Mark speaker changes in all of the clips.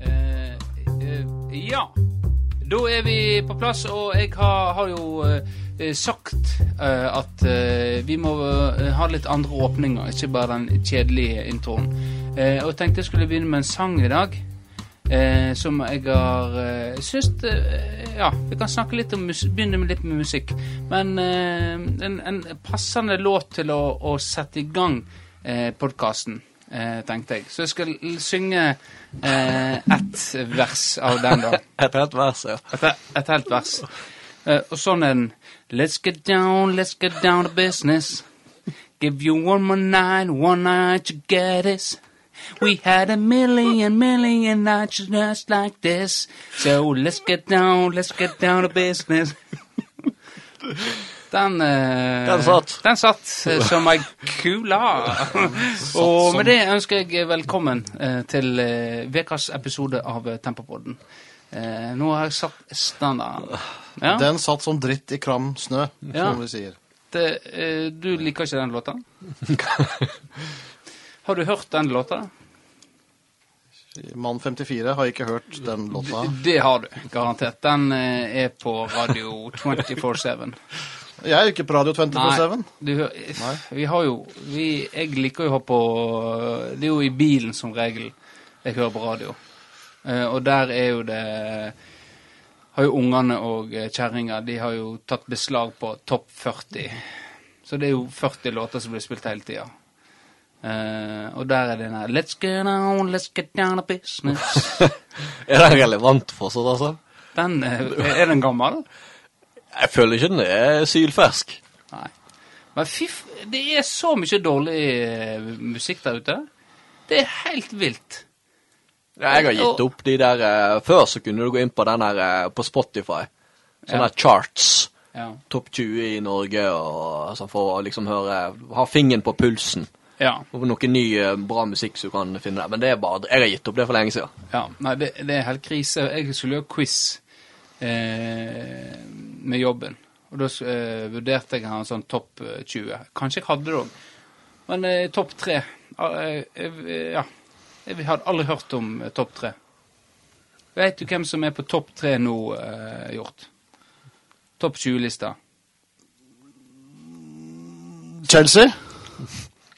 Speaker 1: Eh, Ja. Da er vi på plass, og jeg har, har jo eh, sagt eh, at eh, vi må eh, ha litt andre åpninger, ikke bare den kjedelige introen. Eh, og jeg tenkte jeg skulle begynne med en sang i dag, eh, som jeg har eh, syns eh, Ja, vi kan snakke litt om mus begynne med litt med musikk, men eh, en, en passende låt til å, å sette i gang eh, podkasten. Eh, tenkte jeg. Så jeg skal l- synge eh, ett vers av den, da.
Speaker 2: Et helt vers, ja.
Speaker 1: Et, et helt vers. Eh, og sånn er den. Let's get down, let's get down to business. Give you one more night, one night to get this. We had a million, million nights just like this. So let's get down, let's get down to business. Den, eh,
Speaker 2: Den satt.
Speaker 1: Den satt eh, som ei kule. Og med det ønsker jeg velkommen eh, til eh, ukas episode av eh, Tempopodden. Eh, nå har jeg satt standarden. Ja,
Speaker 3: Den satt som dritt i kram snø, som
Speaker 1: Ja.
Speaker 3: vi sier.
Speaker 1: det, eh, du liker ikke den låta? Har du hørt den låta?
Speaker 3: Mann 54 har ikke hørt den låta.
Speaker 1: Det har du, garantert. Den eh, er på radio 24-7.
Speaker 3: Jeg er jo ikke på Radio 24-7.
Speaker 1: du hø- vi har jo vi, Jeg liker jo å ha på Det er jo i bilen som regel jeg hører på radio. Eh, og der er jo det Har jo ungene og eh, kjerringa De har jo tatt beslag på topp 40. Så det er jo 40 låter som blir spilt hele tida. Eh, og der er den her Let's get down, let's get down to business.
Speaker 2: Er den relevant fortsatt, altså?
Speaker 1: Den, eh, er den gammel?
Speaker 2: Jeg føler ikke den er sylfersk.
Speaker 1: Nei. Men fy f... Det er så mye dårlig eh, musikk der ute. Det er helt vilt.
Speaker 2: Jeg har gitt opp de der eh, Før så kunne du gå inn på den her eh, på Spotify. Sånne
Speaker 1: Ja.
Speaker 2: her charts.
Speaker 1: Ja.
Speaker 2: Topp 20 i Norge og sånn for å liksom høre Ha fingeren på pulsen.
Speaker 1: Ja.
Speaker 2: Og noe ny eh, bra musikk som du kan finne der. Men det er bare Jeg har gitt opp det for lenge siden.
Speaker 1: ja. Nei, det, det er helt krise. Jeg skulle gjøre quiz eh, med jobben. Og da eh, vurderte jeg å ha en sånn topp eh, 20. Kanskje jeg hadde det òg. Men eh, topp tre ah, eh, eh, Ja. Jeg hadde aldri hørt om eh, topp tre. Veit du hvem som er på topp tre nå, eh, Hjort? Topp 20-lista.
Speaker 3: Chelsea?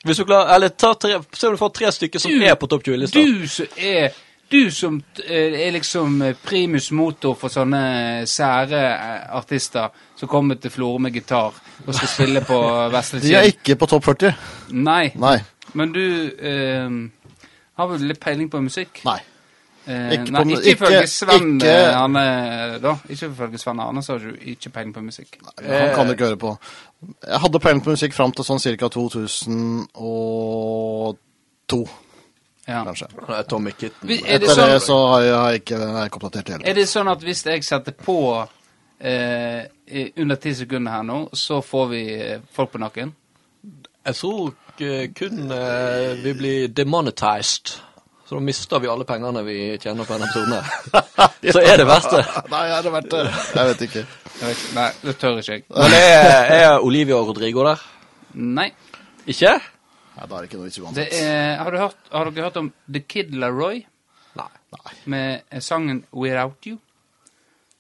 Speaker 2: Hvis du klarer Eller ta tre Se om du får tre stykker som
Speaker 1: Du-
Speaker 2: er på topp 20-lista.
Speaker 1: Du som er du som t- eh, er liksom eh, primus motor for sånne sære eh, artister som kommer til Florø med gitar og skal spille på eh, Vestre
Speaker 3: De er
Speaker 1: Kinn.
Speaker 3: ikke på topp 40.
Speaker 1: Nei,
Speaker 3: Nei.
Speaker 1: men du eh, har vel litt peiling på musikk?
Speaker 3: Nei.
Speaker 1: Eh,
Speaker 3: Ikke
Speaker 1: nei,
Speaker 3: på mu-
Speaker 1: ikke ifølge
Speaker 3: ikke-
Speaker 1: Sven
Speaker 3: ikke-
Speaker 1: eh, Arne, da. Ikke ifølge Sven Arne, så har du ikke peiling på musikk. Eh.
Speaker 3: Han kan ikke høre på. Jeg hadde peiling på musikk fram til sånn ca. 2002,
Speaker 1: Ja.
Speaker 3: kanskje.
Speaker 2: Det er Tommy Kitten.
Speaker 1: Vi- Er det
Speaker 3: Etter det
Speaker 1: sånn-
Speaker 3: så har jeg, har jeg ikke, er jeg ikke oppdatert i det
Speaker 1: Er
Speaker 3: hele tatt.
Speaker 1: det sånn at hvis jeg setter på eh, i- under ti sekunder her nå, så får vi eh, folk på nakken?
Speaker 2: Jeg tror eh, kun eh, vi blir demonetized. Så da mister vi alle pengene vi tjener på denne episoden her. Så er det verste.
Speaker 3: Nei, er det verdt det? Jeg vet ikke.
Speaker 1: Jeg vet ikke. Nei, det tør ikke jeg.
Speaker 2: Men er, er Olivia og Rodrigo der?
Speaker 1: Nei.
Speaker 2: Ikke?
Speaker 3: Nei, da er det ikke noe vits
Speaker 1: Det
Speaker 3: uansett.
Speaker 1: er, har, du hørt, har dere hørt om The Kid Laroi
Speaker 2: Nei.
Speaker 1: med eh, sangen Without You?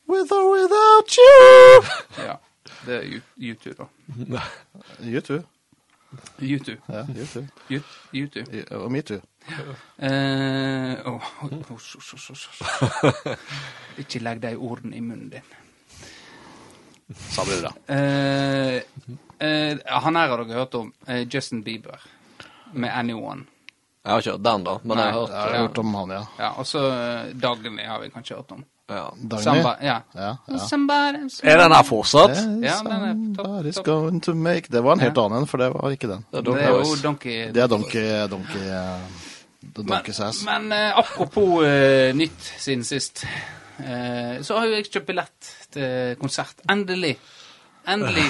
Speaker 3: With or without you.
Speaker 1: Ja. Det er U- U2, da.
Speaker 3: You too.
Speaker 1: U2.
Speaker 3: Ja, you too.
Speaker 1: U- U2.
Speaker 3: You- Og me too.
Speaker 1: Eh, åh, oi, oi, så, så, så, så. Ikke legg de ordene i munnen din.
Speaker 3: Sa du det, da.
Speaker 1: Eh, eh, han her har dere hørt om. eh, Justin Bieber med 'Anyone'.
Speaker 2: Jeg har ikke hørt den, da. Men jeg har
Speaker 3: Jeg har
Speaker 2: hørt
Speaker 3: hørt om han, ja.
Speaker 1: Ja, Og så eh, Dagny har vi kanskje hørt om.
Speaker 2: ja.
Speaker 3: Dagny.
Speaker 1: Samba, ja.
Speaker 3: Ja, ja.
Speaker 1: Somebody,
Speaker 2: Er den her fortsatt?
Speaker 1: Ja, den er topp,
Speaker 3: Somebody's
Speaker 1: topp.
Speaker 3: going to make Det var en helt annen en, for det var ikke den.
Speaker 2: Det er
Speaker 1: Det
Speaker 2: Donkey
Speaker 1: er jo
Speaker 2: Boys.
Speaker 1: Donkey
Speaker 3: Det er Donkey Donkey eh, Donkey Sass.
Speaker 1: Men, men eh, apropos eh, nytt siden sist, eh, så har jo jeg kjøpt billett til konsert. Endelig. Endelig.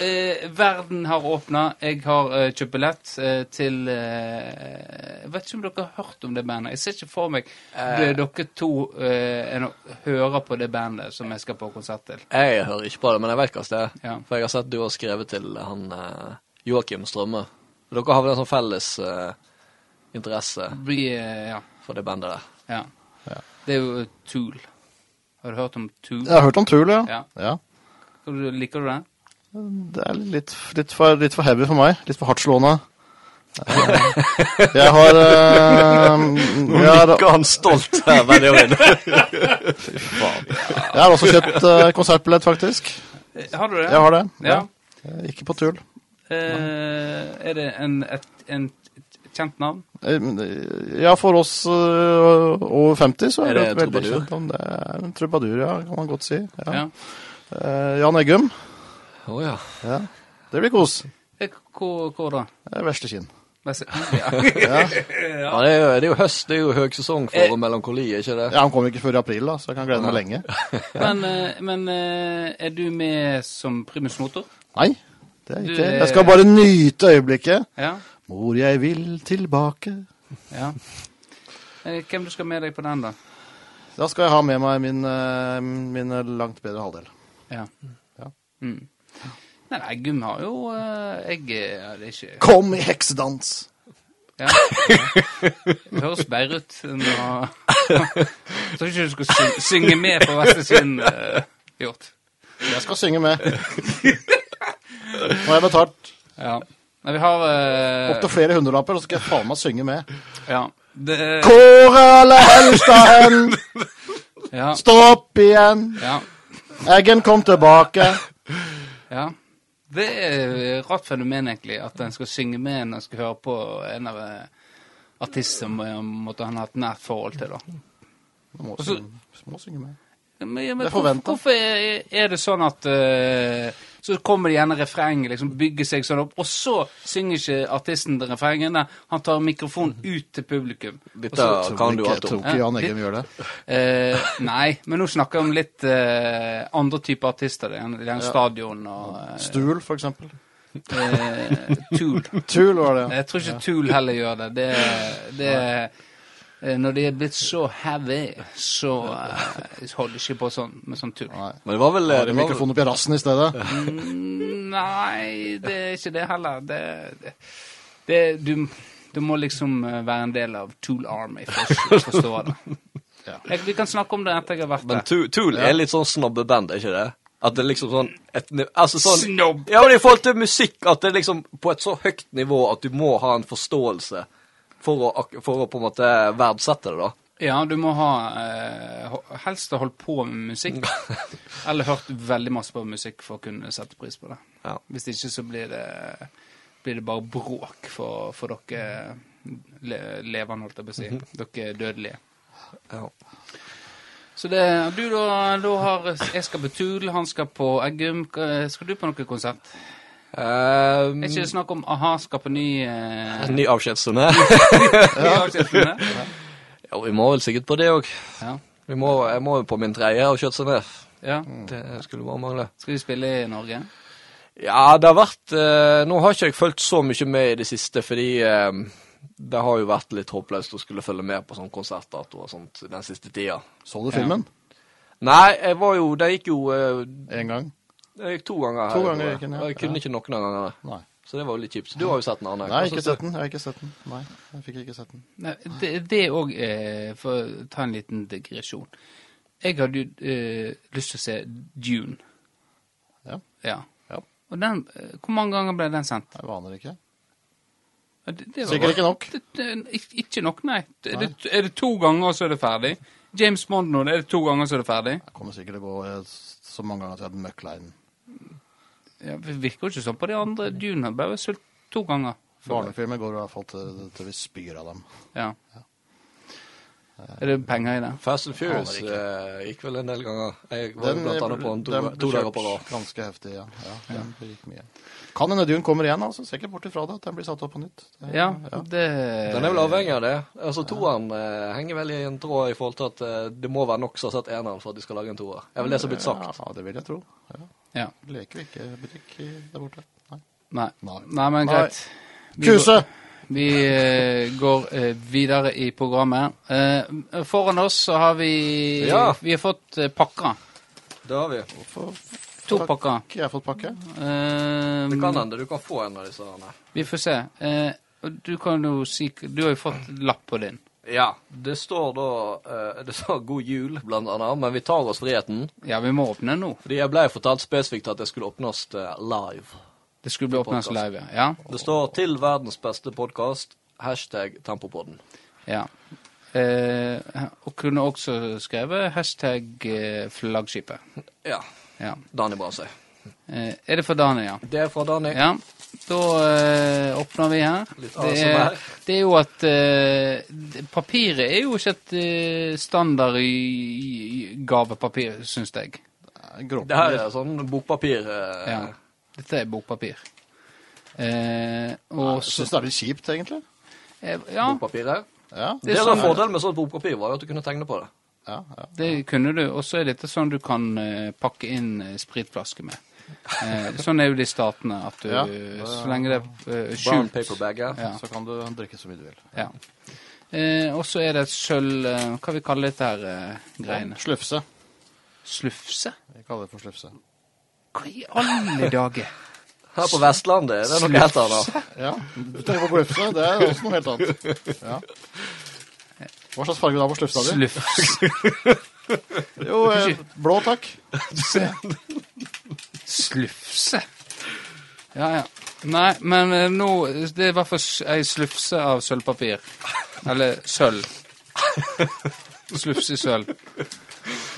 Speaker 1: Eh, verden har åpna. Jeg har eh, kjøpt billett eh, til eh, Jeg vet ikke om dere har hørt om det bandet. Jeg ser ikke for meg det dere to eh, er no- hører på det bandet som jeg skal på konsert til.
Speaker 2: Jeg hører ikke på det, men jeg vet hva det er.
Speaker 1: Ja.
Speaker 2: For jeg har sett du har skrevet til han eh, Joakim Strømme. Dere har vel en sånn felles eh, interesse
Speaker 1: Vi, eh, ja,
Speaker 2: for det bandet der?
Speaker 1: ja. Det er jo Tool. Har du hørt om Tool?
Speaker 3: Jeg har hørt om Tool, ja.
Speaker 1: Ja.
Speaker 3: ja.
Speaker 1: Skal du- Liker du den?
Speaker 3: Det er litt, litt, for, litt for heavy for meg. Litt for hardtslående. Eh, Jeg har
Speaker 1: Oh
Speaker 3: eh, jeg har,
Speaker 2: Nikker han stolt eh, her veldig over.
Speaker 3: jeg har også kjøpt eh, konsertbillett, faktisk.
Speaker 1: Eh, Har du det?
Speaker 3: Jeg har det.
Speaker 1: Ja.
Speaker 3: Eh, Ikke på tull.
Speaker 1: Eh, er det en, et, en et kjent navn?
Speaker 3: Eh, men, eh, Ja, for oss eh, over 50 så
Speaker 2: Er
Speaker 3: er det
Speaker 2: det
Speaker 3: et veldig
Speaker 2: trubadur?
Speaker 3: kjent navn. Det er en trubadur, ja, kan man godt si. Ja.
Speaker 1: Ja.
Speaker 3: Eh, Jan Eggum.
Speaker 2: Å ja.
Speaker 3: Ja. Det blir kos.
Speaker 1: Eh, Hvor, hvor da?
Speaker 3: Eh, Vesle kinn.
Speaker 1: Vest- Ja.
Speaker 2: ja Eh, det, er jo, det er jo høst, det er jo høgsesong for melankoli, er ikke det?
Speaker 3: Ja, han kommer ikke før i april, da, så jeg kan glede meg lenge.
Speaker 1: Men, eh, men eh, er du med som primus motor?
Speaker 3: Nei, det er jeg
Speaker 1: Du eh,
Speaker 3: ikke.
Speaker 1: er-
Speaker 3: Jeg skal bare nyte øyeblikket.
Speaker 1: Ja.
Speaker 3: Mor, jeg vil tilbake.
Speaker 1: ja. Eh, Hvem du skal med deg på den, da?
Speaker 3: Da skal jeg ha med meg min, eh, min langt bedre halvdel.
Speaker 1: Ja.
Speaker 3: Ja.
Speaker 1: Mm. Nei, nei, Gym har jo eh, Jeg eh, det er ikke
Speaker 3: Kom i heksedans!
Speaker 1: ja. Det høres bedre ut enn å Jeg tror ikke du skal sy- synge med på Vestre Sinn, eh, Hjort.
Speaker 3: Jeg skal synge med. Nå har jeg betalt
Speaker 1: Ja. Nei, vi har eh,
Speaker 3: opptil flere hundrelapper, og så skal jeg faen meg synge med.
Speaker 1: Ja. Det,
Speaker 3: Kåre eller Helstahen,
Speaker 1: ja.
Speaker 3: stå opp igjen!
Speaker 1: Ja.
Speaker 3: Eggen kom tilbake.
Speaker 1: Ja. Det er et rart fenomen, egentlig, at en skal synge med en en skal høre på en av artistene som eh, måtte han ha hatt nært forhold til, da.
Speaker 3: Må
Speaker 1: Og så-
Speaker 3: synge, må synge med.
Speaker 1: Men, ja,
Speaker 3: Det
Speaker 1: men
Speaker 3: er
Speaker 1: hvorfor,
Speaker 3: forventet.
Speaker 1: hvorfor er er det sånn at eh, Så kommer det gjerne refrenget, liksom bygger seg sånn opp, og så synger ikke artisten det refrenget. Nei, han tar mikrofonen ut til publikum. og
Speaker 2: Dette
Speaker 1: så-
Speaker 3: Tror
Speaker 2: kan du
Speaker 3: ikke,
Speaker 2: alt om.
Speaker 3: tror ikke Jan Eggum gjør det.
Speaker 1: Eh, nei, men nå snakker jeg om litt eh, andre typer artister. Det er gjerne- det er gjerne Stadion og
Speaker 3: Stul, for eksempel.
Speaker 1: eh, Tool.
Speaker 3: Tool var det. ja.
Speaker 1: Jeg tror ikke Tool heller gjør det. det, det eh, når de er blitt så heavy, så eh, holder de ikke på sånn, med sånn Tool.
Speaker 3: Nei.
Speaker 2: Men det var vel,
Speaker 3: Da har
Speaker 2: det
Speaker 3: de
Speaker 2: var vel
Speaker 3: mikrofonen opp i rassen i stedet.
Speaker 1: Mm, Nei, det er ikke det heller. Det, det, det du, du må liksom eh, være en del av Tool Army for å forstå det.
Speaker 3: Ja.
Speaker 1: Jeg, vi kan snakke om det etter jeg har vært
Speaker 2: Men
Speaker 1: der.
Speaker 2: Tu- Tool er litt sånn snobbeband, er ikke det? At det er liksom sånn et, niv- altså sånn,
Speaker 1: Snobb.
Speaker 2: Ja, men i forhold til musikk, at det er liksom på et så høyt nivå at du må ha en forståelse for å, ak- for å på en måte verdsette det, da.
Speaker 1: Ja, du må ha eh, ho- helst ha holdt på med musikk, eller hørt veldig masse på musikk for å kunne sette pris på det.
Speaker 2: Ja.
Speaker 1: Hvis ikke så blir det, blir det bare bråk for, for dere le, levende, holdt jeg på å si. Dere dødelige.
Speaker 2: Ja.
Speaker 1: Så det, du da, da har Jeg skal på Tul, han skal på Eggum. Hva- Skal du på noe konsert?
Speaker 2: Ehm,
Speaker 1: Er ikke det snakk om a-ha skal på ny eh,
Speaker 2: en ny avskjedssone.
Speaker 1: ny avskjedsrunde?
Speaker 2: ja, vi må vel sikkert på det òg.
Speaker 1: Ja.
Speaker 2: Jeg må jo på min tredje avskjedssone.
Speaker 1: ja.
Speaker 2: Det skulle bare mangle.
Speaker 1: Skal de spille i Norge?
Speaker 2: Ja, det har vært eh, Nå har ikke jeg fulgt så mye med i det siste, fordi eh, det har jo vært litt håpløst å skulle følge med på sånn konsertdato og sånt den siste tida.
Speaker 3: Så du filmen?
Speaker 2: Nei, jeg var jo Det gikk jo eh,
Speaker 3: Én gang?
Speaker 2: Det gikk to ganger. her,
Speaker 3: To
Speaker 2: jeg
Speaker 3: ganger
Speaker 2: tror
Speaker 3: gikk den, ja.
Speaker 2: jeg. Og Jeg kunne ikke noen av gangene.
Speaker 3: Nei.
Speaker 2: Så det var jo litt kjipt. Du har jo sett den, Arne.
Speaker 3: Nei,
Speaker 2: Hva
Speaker 3: ikke
Speaker 2: synes du?
Speaker 3: sett den. Jeg har ikke sett den. Nei, jeg fikk ikke sett den.
Speaker 1: Nei, det, det òg eh, For å ta en liten digresjon. Jeg hadde jo eh, lyst til å se Dune.
Speaker 3: Ja.
Speaker 1: Ja.
Speaker 3: Ja.
Speaker 1: Og den, eh, hvor mange ganger ble den sendt?
Speaker 3: Jeg aner ikke.
Speaker 1: Ja, det- det var-
Speaker 3: Sikkert ikke nok.
Speaker 1: Det, det, ik- ikke nok, nei. Det, det, er det to ganger, så er det ferdig? James Bond nå, det er det to ganger, så er det ferdig?
Speaker 3: Jeg kommer sikkert til å gå eh, så mange ganger at jeg hadde møkk lei den.
Speaker 1: Ja, det virker jo ikke sånn på de andre. Dune ble jo sult to ganger.
Speaker 3: Barnefilmer går i hvert fall til, til vi spyr av dem.
Speaker 1: Ja. Er det penger i det?
Speaker 2: Fast and Furious
Speaker 3: Aner
Speaker 2: eh, gikk vel en del ganger. Jeg var jo blant annet på en to,
Speaker 3: den ble
Speaker 2: to dager
Speaker 3: kjørt
Speaker 2: på rad.
Speaker 3: Ganske heftig, ja. ja den gikk mye. Kan hende Dune kommer igjen, altså. Ser ikke bort ifra det at den blir satt opp på nytt. Det-
Speaker 1: Ja, det
Speaker 2: Den er vel avhengig av det. Altså Toeren eh, henger vel i en tråd i forhold til at eh, det må være nok som har sett eneren for at de skal lage en toer. Er vel det som er blitt sagt.
Speaker 3: Ja, det vil jeg tro. Ja.
Speaker 1: Ja.
Speaker 3: Leker vi ikke butikk i- der borte? Nei.
Speaker 1: Nei.
Speaker 3: Nei.
Speaker 1: Nei, men
Speaker 3: Nei.
Speaker 1: greit. Vi går-
Speaker 3: Kuse!
Speaker 1: Vi eh, går eh, videre i programmet. Eh, foran oss så har vi
Speaker 2: Ja.
Speaker 1: Vi har fått eh, pakker.
Speaker 2: Det har vi.
Speaker 3: Hvorfor
Speaker 1: To
Speaker 3: Takk.
Speaker 1: pakker.
Speaker 3: har ikke jeg fått pakke?
Speaker 1: Eh,
Speaker 2: Det kan hende du kan få en av disse. Arne.
Speaker 1: Vi får se. Eh, og du kan jo si Du har jo fått lapp på din.
Speaker 2: Ja. Det står da eh, Det står 'God jul', blant annet, men vi tar oss friheten.
Speaker 1: Ja, vi må åpne nå.
Speaker 2: Fordi jeg ble fortalt spesifikt at det skulle åpnes eh, live.
Speaker 1: Det skulle bli åpnet
Speaker 2: Podcast.
Speaker 1: live, ja.
Speaker 2: Det står 'Til verdens beste podkast'. Hashtag Tempopodden.
Speaker 1: ja. Eh, og kunne også skrevet hashtag eh, flaggskipet.
Speaker 2: Ja.
Speaker 1: Ja.
Speaker 2: Dani Brasøy.
Speaker 1: Eh, er det for Dania? Ja?
Speaker 2: Det er fra Dani.
Speaker 1: Ja, da eh, åpner vi her.
Speaker 2: Litt
Speaker 1: Det
Speaker 2: ASMR.
Speaker 1: er, det er jo at eh, det- Papiret er jo ikke et eh, standard i- i- gavepapir, syns jeg.
Speaker 2: Det her er sånn bokpapir. eh,
Speaker 1: Ja. Dette er bokpapir. Eh, og
Speaker 3: Jeg
Speaker 1: så
Speaker 3: syns det er litt kjipt, egentlig.
Speaker 1: eh, Ja,
Speaker 2: Bokpapiret.
Speaker 3: Ja,
Speaker 2: Det,
Speaker 1: er
Speaker 2: som
Speaker 1: sånn-
Speaker 2: var fordelen med sånt bokpapir, var jo at du kunne tegne på det.
Speaker 3: ja, ja.
Speaker 1: det kunne du. Og så er dette sånn du kan eh, pakke inn eh, spritflasker med. Eh, sånn er jo det i statene, at du
Speaker 3: Ja.
Speaker 1: Så lenge det er eh,
Speaker 2: Brown
Speaker 1: skjult
Speaker 2: paperbag. Ja.
Speaker 1: Ja.
Speaker 3: Så kan du drikke så mye du vil.
Speaker 1: Ja. Eh, og så er det et sølv eh, Hva vi kaller dette her eh, greiene?
Speaker 3: Slufse.
Speaker 1: Slufse?
Speaker 3: Vi kaller det for slufse.
Speaker 1: Hva i alle dager?
Speaker 2: Her på Vestlandet er det noe helt annet.
Speaker 3: Ja, du tenker på glufse, det er også noe helt annet. Ja. Hva slags farge vil du ha på slufsa di?
Speaker 1: Slufs.
Speaker 3: Jo, eh, blå, takk.
Speaker 1: Slufse? Ja, ja. Nei, men eh, nå Det er i hvert fall s- ei slufse av sølvpapir. Eller sølv. Slufse i sølv.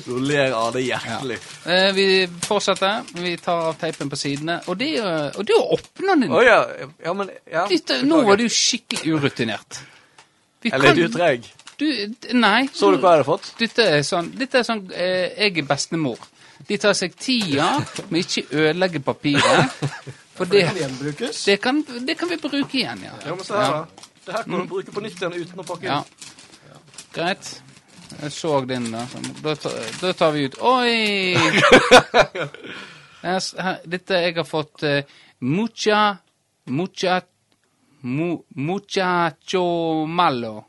Speaker 2: Du ler av det hjertelig.
Speaker 1: Eh, vi fortsetter. Vi tar av teipen på sidene. Og det, eh, og det å åpne den
Speaker 2: Å ja. ja, men ja.
Speaker 1: Dette- Nå var du skikkelig urutinert. Vi
Speaker 2: Eller er du treg?
Speaker 1: Du, d- nei.
Speaker 2: Så du hva jeg hadde fått?
Speaker 1: Dette er sånn, dette er sånn eh, Jeg er bestemor. De tar seg tida med ikke ødelegge papiret. For det,
Speaker 3: Gjenbrukes.
Speaker 1: det, kan, det kan vi bruke igjen, ja.
Speaker 2: Ja, men se her, da. Det her kan du bruke på nytt igjen uten å pakke
Speaker 1: ja. Greit. Jeg så din, da. Sånn. Da, ta- da tar vi ut Oi! Her s- her- Dette jeg har fått eh, Mucha Mucha mu, Muchacho malo.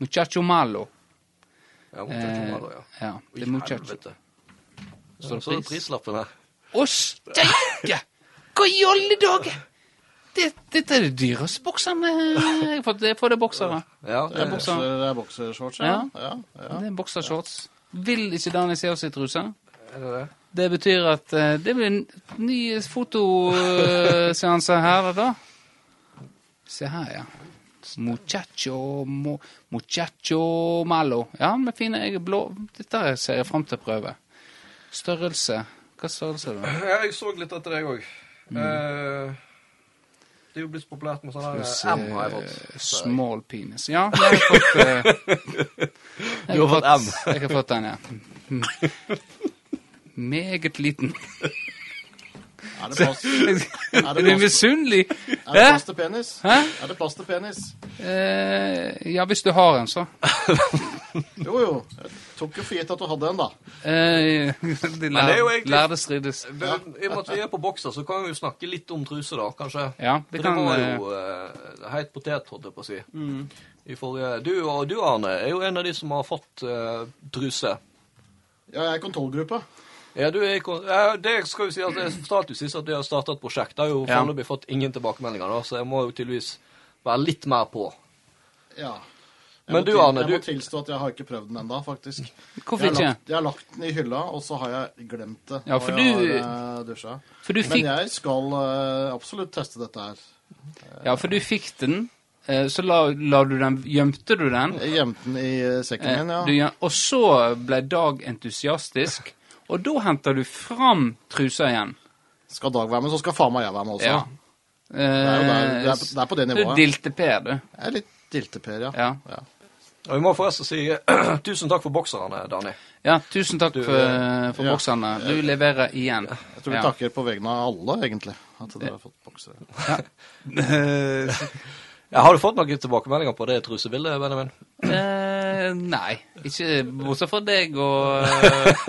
Speaker 1: Muchacho malo.
Speaker 2: Ja, men,
Speaker 1: Eh,
Speaker 2: det ja.
Speaker 1: ja. Det er
Speaker 2: I
Speaker 1: muchacho.
Speaker 2: helvete.
Speaker 1: Står det
Speaker 2: Så er det
Speaker 1: pris?
Speaker 2: prislappen her.
Speaker 1: Å, steike! Hva i alle dager? Det- Dette er de dyreste boksene jeg har fått. Jeg får det boksere.
Speaker 2: Ja,
Speaker 3: Det er
Speaker 2: det,
Speaker 1: bokser.
Speaker 3: bokser- det er boksershorts, ja. ja. ja.
Speaker 1: Det er boksershorts. Vil ikke Daniel se oss i trusa?
Speaker 2: er det det?
Speaker 1: Det betyr at eh, det blir en ny fotoseanse her, da. Se her, ja. Muchacho mo, Muchacho malo. Ja, med fine jeg er blå. Dette ser jeg fram til å prøve. Størrelse. Hva størrelse er det?
Speaker 2: Ja, jeg så litt etter deg òg.
Speaker 1: Mm.
Speaker 2: det er jo blitt så populært med sånne
Speaker 1: Se,
Speaker 2: her M har
Speaker 1: eh,
Speaker 2: jeg fått.
Speaker 1: Small penis. Ja, jeg har fått eh, jeg
Speaker 2: Du har fått
Speaker 1: M. Jeg har fått den, ja. Mm. Meget liten.
Speaker 3: Er det plass,
Speaker 1: Er
Speaker 3: det
Speaker 1: du
Speaker 3: plass-
Speaker 1: misunnelig?
Speaker 3: er det
Speaker 1: Hæ?
Speaker 3: plass til penis?
Speaker 1: Hæ?
Speaker 3: Er det plass til penis?
Speaker 1: Eh, ja, hvis du har en, så.
Speaker 3: Jo, jo. Jeg tok jo for gitt at du hadde en, da.
Speaker 1: Eh, de
Speaker 2: det er jo
Speaker 1: lær,
Speaker 2: egentlig-
Speaker 1: lærde strides.
Speaker 2: Det, I og med at vi er på bokser, så kan vi jo snakke litt om truse, da, kanskje.
Speaker 1: Ja, det
Speaker 2: For
Speaker 1: kan, Mm.
Speaker 2: var jo eh, heit potet, holdt jeg på å si. I forrige, du, og du, Arne, er jo en av de som har fått eh, truse.
Speaker 3: Ja, jeg er i kontrollgruppe.
Speaker 2: Ja, du er, i kon- ja, det skal jo si at Jeg fortalte jo sist at de har starta et prosjekt. Det har jo
Speaker 1: Ja.
Speaker 2: foreløpig fått ingen tilbakemeldinger, da, så jeg må jo tydeligvis være litt mer på.
Speaker 3: Ja. Jeg
Speaker 2: Men
Speaker 3: må
Speaker 2: du,
Speaker 3: til-
Speaker 2: Arne,
Speaker 3: Jeg
Speaker 2: du-
Speaker 3: må tilstå at jeg har ikke prøvd den ennå, faktisk.
Speaker 1: eh, Hvorfor
Speaker 3: Jeg har,
Speaker 1: ikke?
Speaker 3: lagt, jeg har lagt den i hylla, og så har jeg glemt det.
Speaker 1: Ja, for
Speaker 3: når
Speaker 1: du-
Speaker 3: jeg har uh, dusja.
Speaker 1: For du
Speaker 3: Men
Speaker 1: fikk,
Speaker 3: jeg skal eh, absolutt teste dette her.
Speaker 1: ja, for du fikk den. eh, Så la, la du den, gjemte du den.
Speaker 3: Jeg gjemte den i eh, sekken
Speaker 1: Eh,
Speaker 3: min, ja.
Speaker 1: du gjør- og så ble Dag entusiastisk, og da henter du fram trusa igjen.
Speaker 3: Skal Dag være med, så skal faen meg jeg være med også.
Speaker 1: Ja. Eh,
Speaker 3: Det, er jo der, det, er, på- det er på det
Speaker 1: Du
Speaker 3: nivået.
Speaker 1: dilte Per, du.
Speaker 3: Jeg er litt dilteper, ja.
Speaker 1: Ja.
Speaker 3: Ja.
Speaker 2: Og Vi må forresten si tusen takk for bokserne, Dani.
Speaker 1: ja, tusen takk for, eh, for
Speaker 3: eh, ja.
Speaker 1: boksene. Du leverer igjen.
Speaker 3: Jeg tror vi
Speaker 1: Ja.
Speaker 3: takker på vegne av alle, egentlig, at dere har fått boksere.
Speaker 2: Ja, har du fått noen tilbakemeldinger på det trusebildet, Benjamin?
Speaker 1: Eh, nei, ikke bortsett fra deg og eh,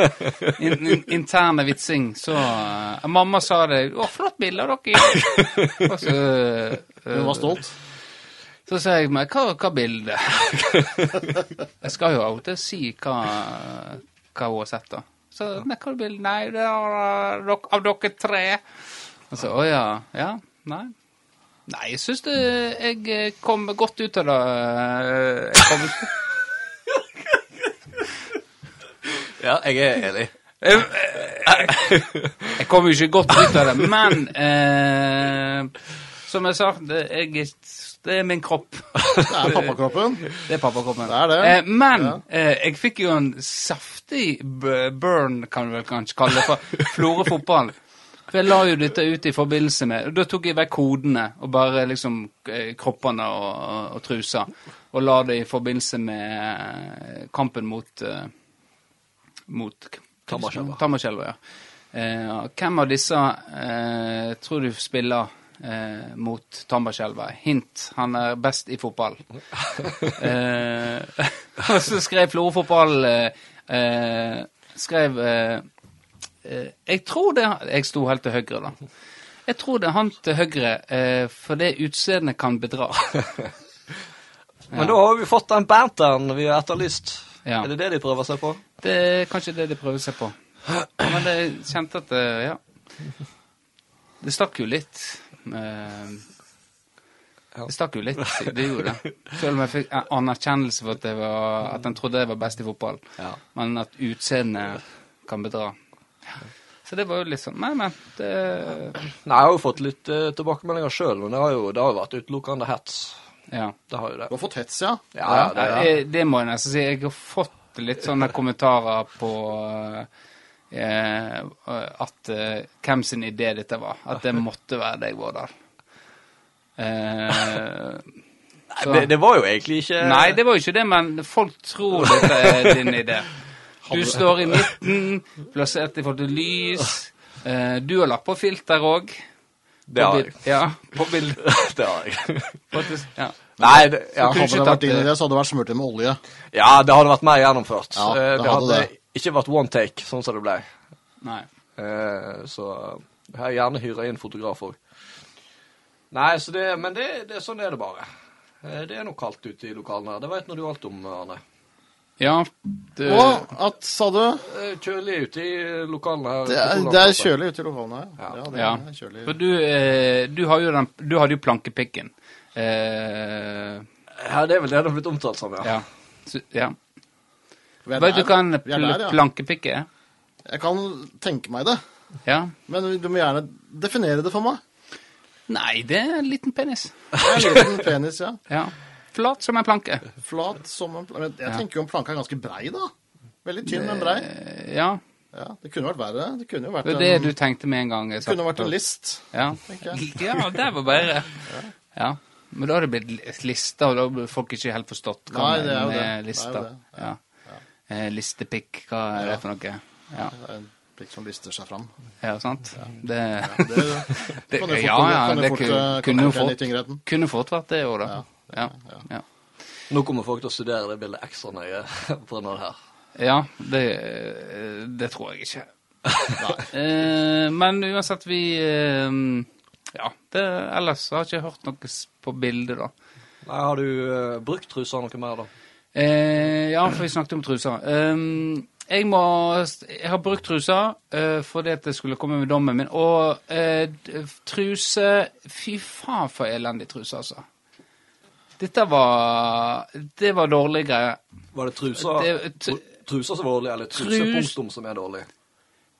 Speaker 1: in, in, interne vitsing, så eh, Mamma sa det. 'Å, flott bilde av dere.' Og så eh,
Speaker 3: Hun var stolt.
Speaker 1: Så sier jeg meg, hva, hva bilde? jeg skal jo alltid si hva, hva hun har sett, da. Så nei, hva bilde? Nei, det er av dere tre. Og så, å ja. Ja, nei. Nei, jeg syns det Jeg eh, kom godt ut av det. eh, Jeg kom,
Speaker 2: Ja, jeg er enig.
Speaker 1: jeg, jeg- jeg kom jo ikke godt ut av det, men eh, Som jeg sa, det, jeg, er- det er min kropp.
Speaker 3: Det er pappakroppen.
Speaker 1: Det er pappakroppen.
Speaker 3: Det er det.
Speaker 1: Eh, men
Speaker 3: Ja.
Speaker 1: eh, jeg fikk jo en saftig b burn, kan du vel kanskje kalle det, fra Florø fotball. For jeg la jo dette ut i forbindelse med og Da tok jeg vekk kodene og bare liksom eh, kroppene og, og, og trusa. Og la det i forbindelse med eh, kampen mot eh, Mot
Speaker 2: Tamasjelva.
Speaker 1: Tamasjelva, ja. Eh, og hvem av disse eh, tror du spiller eh, mot Tamasjelva? Hint, han er best i fotball. Eh, og så skrev Florø Fotball eh, eh, Skrev eh, eh, Jeg tror det Jeg sto helt til høyre, da. Jeg tror det er han til høyre, eh, for det utseendet kan bedra.
Speaker 2: Men da har vi fått den banteren vi har etterlyst.
Speaker 1: Ja.
Speaker 2: Er det det de prøver seg på?
Speaker 1: Det er kanskje det de prøver seg på. Men det- jeg kjente at det Ja. Det stakk jo litt. eh, Det stakk jo litt, det gjorde det. Selv om jeg fikk en anerkjennelse for at, jeg var, at han trodde jeg var best i fotball.
Speaker 2: Ja.
Speaker 1: Men at utseendet kan bedra. Så det var jo litt sånn Nei, men det
Speaker 2: Nei, jeg har jo fått litt eh, tilbakemeldinger sjøl, men det har jo, det har jo vært utelukkende hets.
Speaker 1: Ja.
Speaker 2: Det har jo det.
Speaker 3: Du har fått hets, ja.
Speaker 2: Ja, ja, det,
Speaker 1: Nei, jeg- eh, det må jeg nesten si. Jeg har fått litt sånne kommentarer på eh, at eh, hvem sin idé dette var. At det måtte være deg, Vårdal. Eh, så-
Speaker 2: det, det var jo egentlig ikke
Speaker 1: Nei, det var jo ikke det, men folk tror dette er din idé. Du står i midten, plassert i forhold til lys. Eh, du har lagt på filter òg.
Speaker 2: Det har jeg.
Speaker 1: Ja, på bildet.
Speaker 2: det har jeg.
Speaker 1: Faktisk, Ja.
Speaker 2: Nei, det, ja,
Speaker 1: kunne ikke
Speaker 3: Hadde det
Speaker 1: tatt
Speaker 3: vært din
Speaker 1: det.
Speaker 3: idé, så hadde det vært smurt inn med olje.
Speaker 2: ja, det hadde vært mer gjennomført.
Speaker 3: Ja,
Speaker 2: Eh,
Speaker 3: det
Speaker 2: det
Speaker 3: hadde
Speaker 2: hadde ikke vært one take, sånn som det ble.
Speaker 1: Nei.
Speaker 2: Eh, så jeg har gjerne hyra inn fotograf òg. Nei, så det, men det, det, sånn er det bare. Eh, Det er nok kaldt ute i lokalene her. Det veit nå du alt om, Arne.
Speaker 1: Ja, det,
Speaker 3: Og at, sa du
Speaker 2: Eh, Kjølig ute i lokalene her. på
Speaker 3: Det er, det er
Speaker 2: Kolandplassen.
Speaker 3: kjølig ute i lokalene her. Ja, det
Speaker 1: Ja.
Speaker 3: er kjølig.
Speaker 1: For du, eh, du, har jo den, du hadde jo plankepikken. Eh,
Speaker 2: Ja, det er vel det det har blitt omtalt som, ja.
Speaker 1: ja. Så, ja.
Speaker 3: Ah. Vi er
Speaker 1: Vet du
Speaker 3: der.
Speaker 1: hva en
Speaker 3: Vi er der,
Speaker 1: pl
Speaker 3: ja.
Speaker 1: plankepikk er?
Speaker 3: Jeg kan tenke meg det,
Speaker 1: Ja.
Speaker 3: men du må gjerne definere det for meg.
Speaker 1: Nei, det er en liten penis.
Speaker 3: Jeg er liten penis, ja.
Speaker 1: Ja. Flat som en planke.
Speaker 3: Flat som en pla- men Jeg tenker jo en planke er ganske brei, da. Veldig tynn, men brei.
Speaker 1: Eh, Ja.
Speaker 3: Ja, det kunne vært verre. Det kunne jo vært
Speaker 1: Det
Speaker 3: en,
Speaker 1: var det du tenkte med en gang. jeg
Speaker 3: det
Speaker 1: sa.
Speaker 3: kunne vært en list.
Speaker 1: Ja.
Speaker 3: tenker
Speaker 1: ja, det var bare Ja. Men da har det blitt li- lister, og da har folk ikke helt forstått hva
Speaker 3: Nei, det er jo
Speaker 1: med
Speaker 3: det. Det er
Speaker 1: lister.
Speaker 3: jo det.
Speaker 1: Ja. Eh, Listepikk, hva er det for noe? Ja,
Speaker 3: Det er En prikk som lister seg fram.
Speaker 1: ja sant? Det,
Speaker 3: Det, det
Speaker 1: det,
Speaker 3: kan jo fort,
Speaker 1: ja, ja,
Speaker 3: kan jo
Speaker 1: det
Speaker 3: fort,
Speaker 1: kunne,
Speaker 3: eh, kan
Speaker 1: kunne jo
Speaker 3: jo fort ende i
Speaker 1: fått
Speaker 3: tingretten.
Speaker 1: Kunne fort vært det òg, da. Ja, ja.
Speaker 2: Nå kommer folk til å studere det bildet ekstra nøye på denne her.
Speaker 1: ja det, eh, det tror jeg ikke. Eh, Men uansett, vi eh, Ja, det, ellers har jeg ikke hørt noe s- på bildet, da.
Speaker 2: Nei, har du eh, brukt trusa noe mer, da?
Speaker 1: Eh, ja, for vi snakket om truser. Ehm, jeg, må, jeg har brukt truser eh, fordi at det skulle komme med dommen min. Og eh, d- truse Fy faen, for elendig truse, altså. Dette var Det var dårlige greier.
Speaker 2: Var det trusa,
Speaker 1: Det- t-
Speaker 2: tr- trusa som var dårlig, eller truse
Speaker 1: Trus-
Speaker 2: punktum som er dårlig?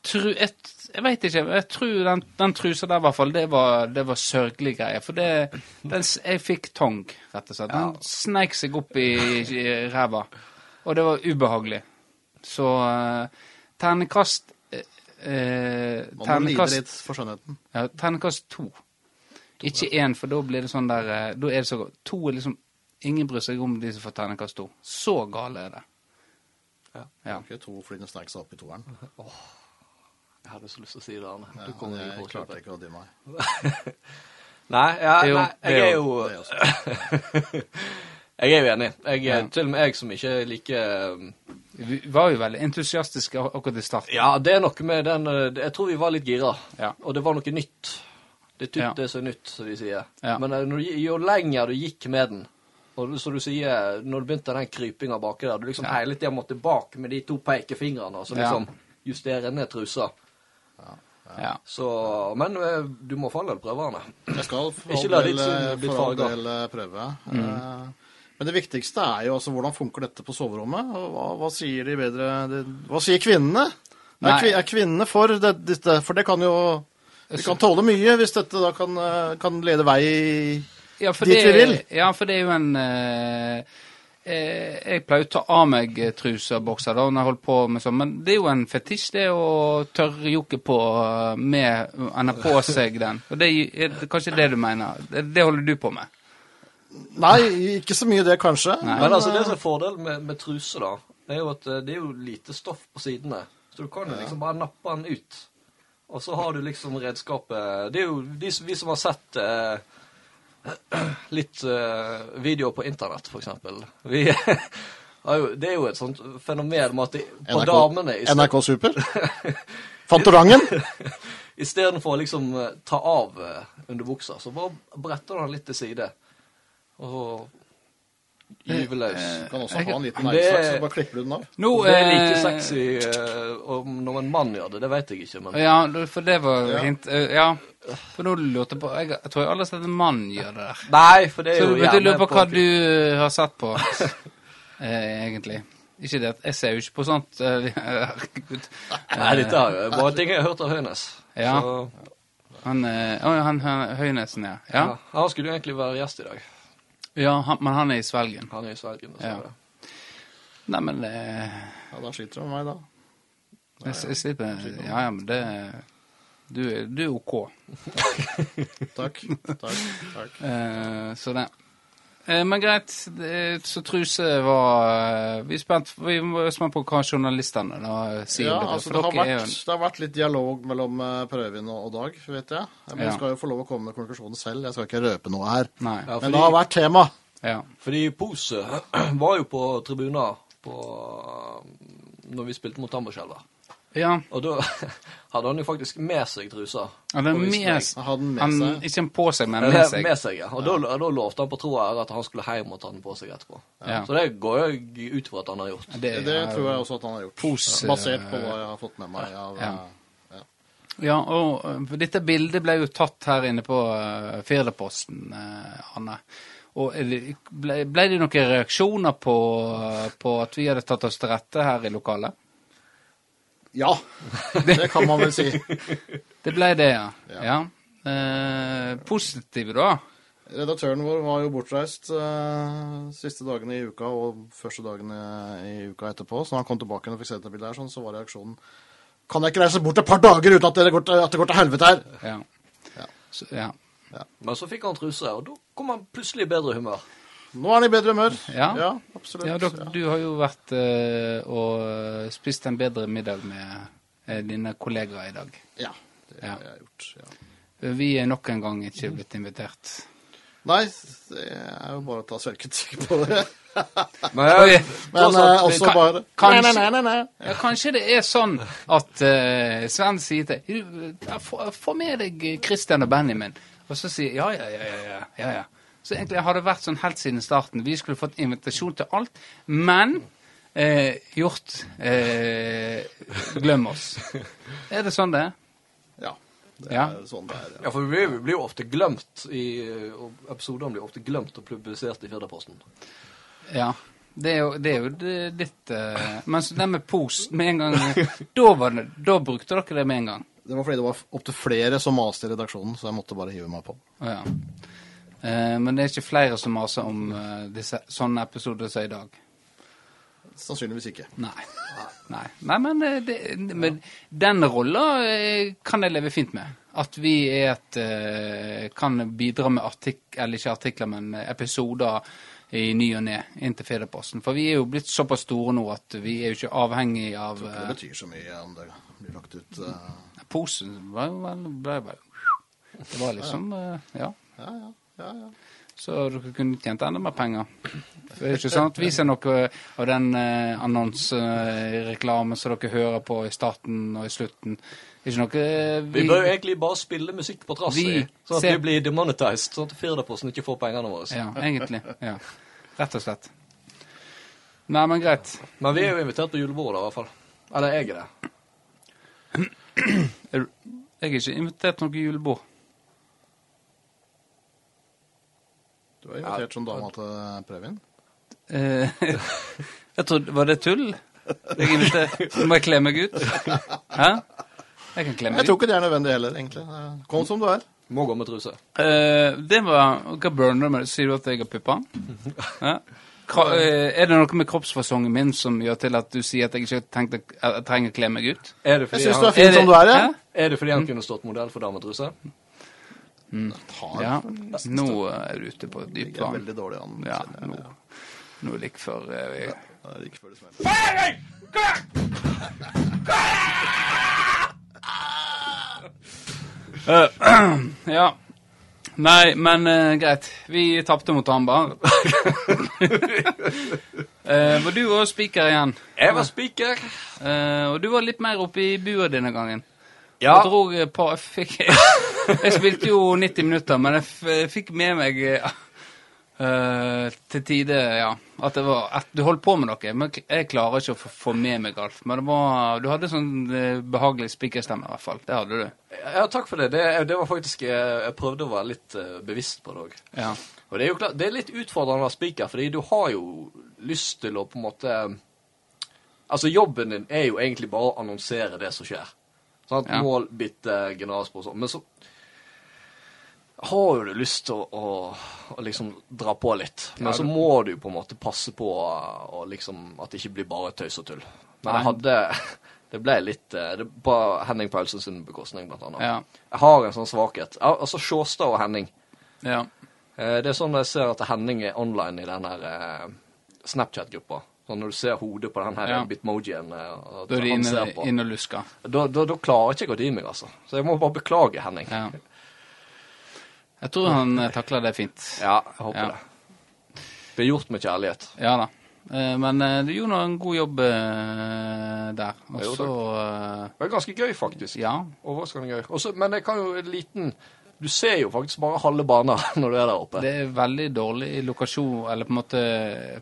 Speaker 1: Tru, jeg, jeg veit ikke. men Jeg tror den, den trusa der, i hvert fall, det var, det var sørgelige greier. For det, den, s- jeg fikk tong, rett og slett. Den sneik seg opp i, i ræva. Og det var ubehagelig. Så eh, ternekast eh, eh,
Speaker 3: Man må lide
Speaker 1: Ternekast
Speaker 3: litt for skjønnheten.
Speaker 1: ja, ternekast to. Ikke én, for da blir det sånn der eh, Da er det så godt. To er liksom Ingen bryr seg om de som får ternekast to. Så gale er det.
Speaker 2: Ja.
Speaker 1: ja.
Speaker 3: Ikke to fordi den snek seg opp i toeren.
Speaker 2: Jeg hadde så lyst til å si det, Arne.
Speaker 3: Ja,
Speaker 2: du kommer
Speaker 3: men
Speaker 2: ikke
Speaker 3: jeg
Speaker 2: på å
Speaker 3: klarte ikke å dy meg.
Speaker 2: Nei, ja,
Speaker 1: Det er jo-
Speaker 2: nei, jeg
Speaker 1: det er
Speaker 2: er jo
Speaker 3: Det er også-
Speaker 2: Jeg er jo enig. Jeg, er-
Speaker 1: Ja.
Speaker 2: Til og med jeg som ikke liker um,
Speaker 1: Vi var jo veldig entusiastiske ak- akkurat i starten.
Speaker 2: Ja, det er noe med den eh, Jeg tror vi var litt gira,
Speaker 1: Ja.
Speaker 2: og det var noe nytt. Det er typ
Speaker 1: Ja.
Speaker 2: det som er nytt, som de sier.
Speaker 1: Ja.
Speaker 2: Men eh, når, du- jo lenger du gikk med den, og du- som du sier, når du begynte den krypinga baki der, du liksom hele tida måtte bak med de to pekefingrene og så
Speaker 1: Ja.
Speaker 2: liksom justere ned trusa.
Speaker 1: Ja.
Speaker 2: Så, men eh, du må for all del prøve den. da.
Speaker 3: Jeg skal for
Speaker 2: Ikke
Speaker 3: all
Speaker 2: la
Speaker 3: del,
Speaker 2: ditt syn bli Mm.
Speaker 3: for all
Speaker 2: farga.
Speaker 3: del eh, prøve. Eh, Men det viktigste er jo altså hvordan funker dette på soverommet? Og hva, hva sier de bedre det, Hva sier kvinnene? Er,
Speaker 1: Nei.
Speaker 3: kvi, er kvinnene for det, dette? For det kan jo Vi kan tåle mye hvis dette da kan, eh, kan lede vei i-
Speaker 1: Ja, for
Speaker 3: Dit
Speaker 1: det,
Speaker 3: vi vil.
Speaker 1: Ja, for det er jo en eh, eh, Jeg pleier å ta av meg eh, truser-bokser da, når jeg holder på med sånn, men det er jo en fetisj, det å tørrjokke på eh, med Han har på seg den. Og det er kanskje det du mener? Det, det holder du på med?
Speaker 3: Nei, ikke så mye det, kanskje.
Speaker 2: Men altså, det som
Speaker 3: eh,
Speaker 2: er fordelen med, med truse, da, er jo at eh, det er jo lite stoff på sidene. Så du kan jo liksom bare nappe den ut. Og så har du liksom redskapet Det er jo de, som- vi som har sett eh, litt eh, videoer på internett, for eksempel. Vi har jo, det er jo et sånt fenomen med at de, på
Speaker 3: NRK,
Speaker 2: damene i sted-
Speaker 3: NRK Super? Fantorangen?
Speaker 2: Istedenfor å liksom eh, ta av eh, underbuksa, så bare bretter du den litt til side. Og
Speaker 3: Eh,
Speaker 2: gyver løs.
Speaker 3: Kan også ha en liten
Speaker 2: Det-
Speaker 3: neglestraks, så bare klipper du den av.
Speaker 1: Nå,
Speaker 2: Det er like
Speaker 1: eh,
Speaker 2: sexy eh, om når en mann gjør det, det vet jeg ikke, men
Speaker 1: Ja, for det var
Speaker 3: Ja.
Speaker 1: hint. Eh, Ja. For nå lurte jeg på Jeg, jeg tror jeg aldri har sett en mann gjøre det der.
Speaker 2: Nei, for det
Speaker 1: Så
Speaker 2: er
Speaker 1: du
Speaker 2: jo
Speaker 1: begynte å lure på hva
Speaker 2: en
Speaker 1: du har sett på, eh, egentlig. Ikke det at Jeg ser jo ikke på sånt. eh, Herregud.
Speaker 2: Nei, dette er jo bare ting jeg har hørt av Høynes.
Speaker 1: Ja.
Speaker 2: Så,
Speaker 1: Han, eh, å, han, han Høynesen, ja.
Speaker 2: ja.
Speaker 1: Ja,
Speaker 2: Han skulle jo egentlig være gjest i dag.
Speaker 1: ja han, men han er i svelgen.
Speaker 2: Han er i Sverige. så
Speaker 1: Ja.
Speaker 2: det-
Speaker 1: Nei, men eh,
Speaker 3: Ja, da sliter du med meg, da.
Speaker 1: jeg, jeg sliter med Ja, ja, men det Du, er- du er OK.
Speaker 3: Takk. Takk. takk.
Speaker 1: Eh, så det. Eh, men greit, det, så truse var eh, Vi er spent, vi er spent på hva journalistene da sier.
Speaker 3: Ja,
Speaker 1: om dette,
Speaker 3: altså
Speaker 1: for
Speaker 3: det har,
Speaker 1: dere er jo
Speaker 3: vært, det har vært litt dialog mellom eh, Prøvin og og Dag, vet jeg. Men
Speaker 1: Ja.
Speaker 3: jeg skal jo få lov å komme med konklusjonen selv. Jeg skal ikke røpe noe her.
Speaker 1: en- Nei.
Speaker 2: Ja,
Speaker 3: Men
Speaker 2: fordi-
Speaker 3: det har vært tema.
Speaker 1: Ja.
Speaker 2: Fordi Pose var jo på tribuner på, um, når vi spilte mot Tamberskjell. da.
Speaker 1: ja.
Speaker 2: Og da hadde han jo faktisk med seg trusa.
Speaker 1: Han er
Speaker 2: Og visste
Speaker 1: med,
Speaker 2: meg.
Speaker 3: Jeg hadde den med
Speaker 1: han,
Speaker 3: seg.
Speaker 1: Ikke han på seg, men med
Speaker 2: Eller,
Speaker 1: seg.
Speaker 2: Med seg ja. Og da, da lovte han på tro og ære at han skulle hjem og ta den på seg etterpå.
Speaker 1: Ja.
Speaker 2: Så det går jeg ut fra at han har gjort.
Speaker 1: Det,
Speaker 3: Det
Speaker 1: er-
Speaker 3: tror jeg også at han har gjort.
Speaker 1: Pose-
Speaker 3: Ja, Basert på hva jeg har fått med meg av
Speaker 1: Ja.
Speaker 3: eh,
Speaker 1: Ja, og eh, for dette bildet ble jo tatt her inne på uh, Firdaposten, eh, Anne. Og er det- ble, ble det noen reaksjoner på, eh, på at vi hadde tatt oss til rette her i lokalet?
Speaker 3: Ja, det kan man vel si.
Speaker 1: Det ble det, ja.
Speaker 3: Ja.
Speaker 1: ja. Eh, positive, da?
Speaker 3: Redaktøren vår var jo bortreist eh, siste dagene i uka og første dagene i uka etterpå. Så når han kom tilbake og fikk se dette bildet, her, sånn, så var reaksjonen Kan jeg ikke reise bort et par dager uten at det går til, at det går til helvete her?
Speaker 1: Ja.
Speaker 3: Ja.
Speaker 1: Så, ja.
Speaker 2: Men så fikk han truse, og da kom han plutselig i bedre humør.
Speaker 3: Nå er han i bedre humør.
Speaker 1: Ja.
Speaker 3: absolutt.
Speaker 1: ja dok, du har jo vært eh, og spist en bedre middag med eh, dine kollegaer i dag.
Speaker 3: Ja, det
Speaker 1: Ja.
Speaker 3: har jeg gjort. Ja.
Speaker 1: Vi er nok en gang ikke
Speaker 3: Mm.
Speaker 1: blitt invitert.
Speaker 3: Nei, det er jo bare å ta selvkritikk på det.
Speaker 1: Oi.
Speaker 3: Men
Speaker 2: Tross alt,
Speaker 3: eh, også
Speaker 1: kan-
Speaker 3: bare
Speaker 1: kanskje-
Speaker 3: Nei, nei, nei, nei, nei.
Speaker 1: Ja, kanskje det er sånn at eh, Sven sier til «Du, ja, Få få med deg eh, Christian og Benjamin. Og så sier jeg, ja, ja, ja, ja, ja, ja, ja. Så egentlig har det vært sånn helt siden starten. Vi skulle fått invitasjon til alt, men eh, gjort eh, Glem oss. Er det sånn det er?
Speaker 3: Ja. Det
Speaker 1: Ja.
Speaker 3: er sånn det er. Ja.
Speaker 2: Ja, for vi blir jo ofte glemt i og Episodene blir ofte glemt og publisert i Firdaposten.
Speaker 1: Ja. Det er jo, det er jo det- ditt eh, Men så det med pos med en gang da, var det, da brukte dere det med en gang.
Speaker 3: Det var fordi det var opptil flere som maste i redaksjonen, så jeg måtte bare hive meg på.
Speaker 1: Å ja. Eh, men det er ikke flere som maser om eh, disse, sånne episoder som i dag?
Speaker 3: Sannsynligvis ikke.
Speaker 1: Nei. Nei, Nei men, eh, det, men den rolla eh, kan jeg leve fint med. At vi er et eh, kan bidra med artik eller ikke artikler, men episoder i ny og ne inn til Federposten. For vi er jo blitt såpass store nå at vi er jo ikke avhengig av
Speaker 3: Det
Speaker 1: eh,
Speaker 3: betyr så mye om det blir lagt ut eh,
Speaker 1: posen. Var jo vel- ble vel- Det var liksom eh, Ja.
Speaker 3: Ja, ja. ja, ja.
Speaker 1: Så dere kunne tjent enda mer penger. For det er ikke sånn at vi ser noe av den eh, annonsereklamen som dere hører på i starten og i slutten. Det er ikke noe eh,
Speaker 2: Vi bør jo egentlig bare spille musikk på trass i,
Speaker 1: Vi
Speaker 2: sånn at
Speaker 1: ser-
Speaker 2: vi blir demonetized, sånn at Firdaposten ikke får pengene våre.
Speaker 1: Ja, egentlig. Ja. Rett og slett. Nei, men greit.
Speaker 2: Men vi er jo invitert på julebordet, i hvert fall. Eller jeg er det.
Speaker 1: Er du- Jeg er ikke invitert til noe julebord.
Speaker 3: Du er invitert som dama til Previn.
Speaker 1: Eh, jeg trodde, Var det tull? Jeg inviterte, må jeg kle meg ut? Hæ? Jeg kan kle
Speaker 3: Jeg
Speaker 1: meg ut.
Speaker 3: tror ikke det er nødvendig heller, egentlig. Eh, Kom som du er.
Speaker 2: Må gå med truse.
Speaker 1: Eh, det var Hva burner med? Sier du at jeg har pupper? Ja. Kro- eh, er det noe med kroppsfasongen min som gjør til at du sier at jeg ikke tenkt å- at jeg trenger å kle meg ut?
Speaker 2: Er det Mm.
Speaker 3: Jeg
Speaker 2: fordi
Speaker 3: syns du
Speaker 2: han,
Speaker 3: er fin
Speaker 1: Er det-
Speaker 3: som du er, jeg.
Speaker 1: Hæ?
Speaker 2: er det fordi han kunne stått modell for dametruse?
Speaker 3: Tar
Speaker 1: Ja. Nå er du ute på et dypt
Speaker 3: Jeg er
Speaker 1: vann.
Speaker 3: veldig dårlig an.
Speaker 1: Ja,
Speaker 3: kjenner jeg.
Speaker 1: nå, nå er det like før eh,
Speaker 3: Ja, det er ikke før det smeller.
Speaker 1: Ja. Nei, men eh, greit. Vi tapte mot Hambar. Eh, var du òg spiker igjen?
Speaker 2: Jeg var spiker.
Speaker 1: Eh, og du var litt mer oppe i bua denne gangen.
Speaker 2: Ja.
Speaker 1: Jeg dro eh, på jeg, fikk, jeg, spilte jo 90 minutter, men jeg f fikk med meg eh, eh, til tide, ja. At, det var, at du holdt på med noe. Men k- jeg klarer ikke å få, få med meg alt. Men det var, du hadde sånn eh, behagelig spikerstemme, i hvert fall. Det hadde du.
Speaker 2: Ja, takk for det. Det, det var faktisk eh, Jeg prøvde å være litt eh, bevisst på det òg.
Speaker 1: Ja.
Speaker 2: Og det er jo klart, det er litt utfordrende å være spiker, fordi du har jo lyst til å på en måte Altså, jobben din er jo egentlig bare å annonsere det som skjer. Sant?
Speaker 1: Ja.
Speaker 2: Mål, bytte, generalspor og sånn. Men så har jo du lyst til å, å, å liksom dra på litt. Men
Speaker 1: Ja,
Speaker 2: så
Speaker 1: du-
Speaker 2: må du på en måte passe på eh, og liksom at det ikke blir bare tøys og tull. Men jeg
Speaker 1: Nei.
Speaker 2: hadde Det ble litt eh, det, På Henning Paulsen sin bekostning, blant annet.
Speaker 1: Ja.
Speaker 2: Jeg har en sånn svakhet. Al- Altså Sjåstad og Henning.
Speaker 1: ja.
Speaker 2: Eh, Det er sånn jeg ser at Henning er online i den her eh, Snapchat-gruppa. Sånn når du ser hodet på den her
Speaker 1: Ja.
Speaker 2: bitmojien eh, at
Speaker 1: Da er de
Speaker 2: han
Speaker 1: inne,
Speaker 2: ser på.
Speaker 1: inne og lusker.
Speaker 2: Da, da, da klarer ikke jeg å dy meg, altså. Så jeg må bare beklage, Henning. Ja,
Speaker 1: Ja. Jeg tror han eh, takler det fint.
Speaker 2: jeg håper
Speaker 1: Ja.
Speaker 2: det. Det er gjort med kjærlighet.
Speaker 1: Ja da. Eh, Men eh, du gjorde nå en god jobb eh, der. Og
Speaker 2: Jo, takk.
Speaker 1: så
Speaker 2: Det var ganske gøy, faktisk.
Speaker 1: eh, Ja.
Speaker 2: Overraskende gøy. Også, men jeg kan jo en liten Du ser jo faktisk bare halve banen når du er der oppe.
Speaker 1: Det er veldig dårlig lokasjon, eller på en måte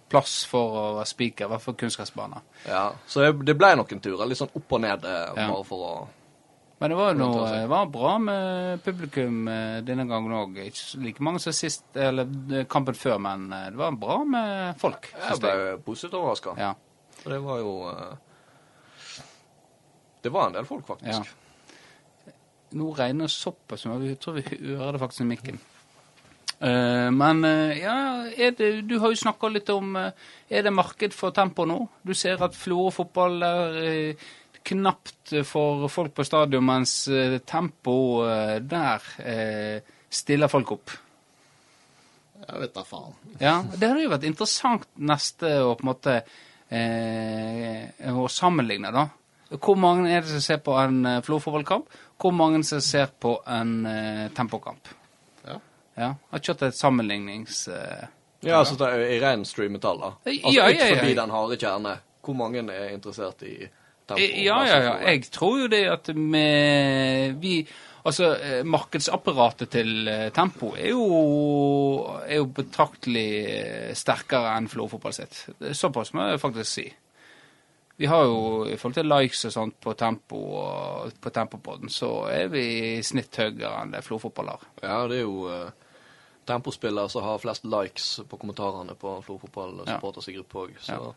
Speaker 1: plass for å være spiker, i hvert fall kunstgressbane.
Speaker 2: Ja, så jeg, det ble noen turer. Litt sånn opp og ned, eh,
Speaker 1: Ja.
Speaker 2: bare for å
Speaker 1: Men det var jo noe,
Speaker 2: Det tar seg.
Speaker 1: det var bra med publikum eh, denne gangen òg. Ikke så like mange som sist, eller eh, kampen før, men eh, det var bra med folk.
Speaker 2: Jeg
Speaker 1: synes
Speaker 2: ble
Speaker 1: jeg.
Speaker 2: positivt overraska.
Speaker 1: Ja.
Speaker 2: For det var jo eh, Det var en del folk, faktisk.
Speaker 1: Ja. Nå regner det såpass, men jeg tror vi hører det faktisk i mikken. Eh, men eh, ja, er det, du har jo snakka litt om eh, Er det marked for tempo nå? Du ser at Florø fotball er eh, knapt for folk på stadion, mens eh, tempo eh, der eh, stiller folk opp.
Speaker 3: Jeg vet da faen.
Speaker 1: Ja, Det hadde jo vært interessant neste å på en måte eh, å sammenligne, da. Hvor mange er det som ser på en eh, Florø-fotballkamp? Hvor mange som ser på en eh, tempokamp?
Speaker 3: Ja.
Speaker 1: Ja, Har kjørt et sammenlignings... Eh,
Speaker 2: Ja, altså det er i ren streametall, da.
Speaker 1: Ja,
Speaker 2: Altså
Speaker 1: ja,
Speaker 2: ut
Speaker 1: ja, ja.
Speaker 2: forbi den harde kjerne. Hvor mange er interessert i tempo?
Speaker 1: Eh,
Speaker 2: altså,
Speaker 1: ja, ja, ja. Jeg tror jo det at med vi Altså, eh, markedsapparatet til eh, Tempo er jo, er jo betraktelig eh, sterkere enn Florø-fotball sitt. Det er Såpass må jeg faktisk si. Vi har jo, i forhold til likes og sånt på Tempo og på Tempopodden, så er vi i snitt høyere enn det Florø-fotball har.
Speaker 2: Ja, det er jo eh, tempospillere som har flest likes på kommentarene på Flor fotball
Speaker 1: Ja.
Speaker 2: supporters gruppe òg, så
Speaker 1: Ja.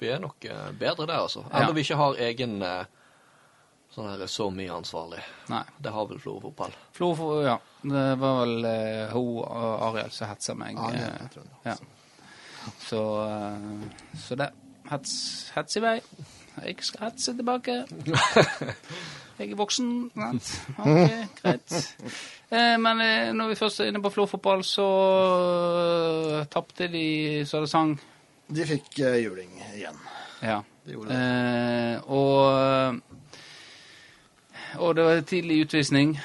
Speaker 2: vi er nok eh, bedre der, altså.
Speaker 1: Ja.
Speaker 2: Enda vi ikke har egen eh, sånn her så mye ansvarlig.
Speaker 1: Nei.
Speaker 2: Det har vel Flor fotball.
Speaker 1: Flo, for- ja. Det var vel eh, hun og Ariel som hetsa meg.
Speaker 3: Ja, det
Speaker 1: eh,
Speaker 3: jeg tror det. sånn.
Speaker 1: ja. Så, eh, så det. Hets, hets i vei. Jeg skal hetse tilbake. Jeg er voksen. Sant? Ok, greit. Eh, men eh, når vi først er inne på Flo fotball, så eh, tapte de så det sang.
Speaker 3: De fikk eh, juling igjen.
Speaker 1: Ja.
Speaker 3: De gjorde det.
Speaker 1: Eh, og, eh, og det var tidlig utvisning.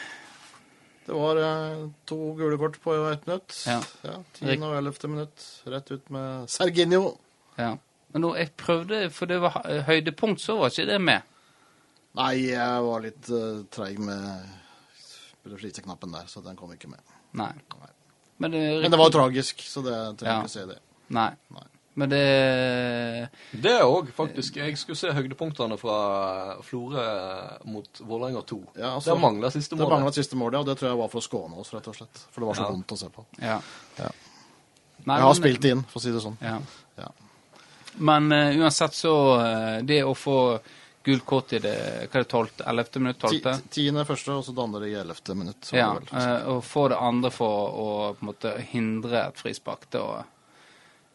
Speaker 3: Det var eh, to gule kort på ett minutt.
Speaker 1: Ja.
Speaker 3: Ja, 10. og 11. minutt. Rett ut med Serginho.
Speaker 1: Ja. Men nå, jeg prøvde, for det var hø- høydepunkt, så var ikke det med.
Speaker 3: Nei, jeg var litt eh, treig med Burde slite knappen der, så den kom ikke med.
Speaker 1: Nei. Men det,
Speaker 3: Men det var jo tragisk, så det trenger
Speaker 1: Ja.
Speaker 3: ikke å si det.
Speaker 1: Nei.
Speaker 3: Nei.
Speaker 1: Men det
Speaker 2: Det òg, faktisk. Jeg skulle se høydepunktene fra Florø mot Vålerenga 2.
Speaker 3: Ja, altså,
Speaker 2: Der mangler siste
Speaker 3: Det mangla
Speaker 2: målet.
Speaker 3: et siste mål, ja. og Det tror jeg var for å skåne oss, rett og slett. For det var så
Speaker 2: Ja.
Speaker 3: vondt å se på.
Speaker 1: Ja.
Speaker 3: Ja.
Speaker 1: Nei,
Speaker 3: Jeg har
Speaker 1: men-
Speaker 3: spilt det inn, for å si det sånn.
Speaker 1: Ja.
Speaker 3: Ja.
Speaker 1: Men eh, uansett så eh, Det å få gult kort i det hva er det, 12., 11. minutt?
Speaker 3: Ti,
Speaker 1: 12.?
Speaker 3: tiende første, og så det andre i ellevte minutt. så
Speaker 1: Ja,
Speaker 3: var det vel.
Speaker 1: eh, og få det andre for å på en måte hindre et frispark. Det, å-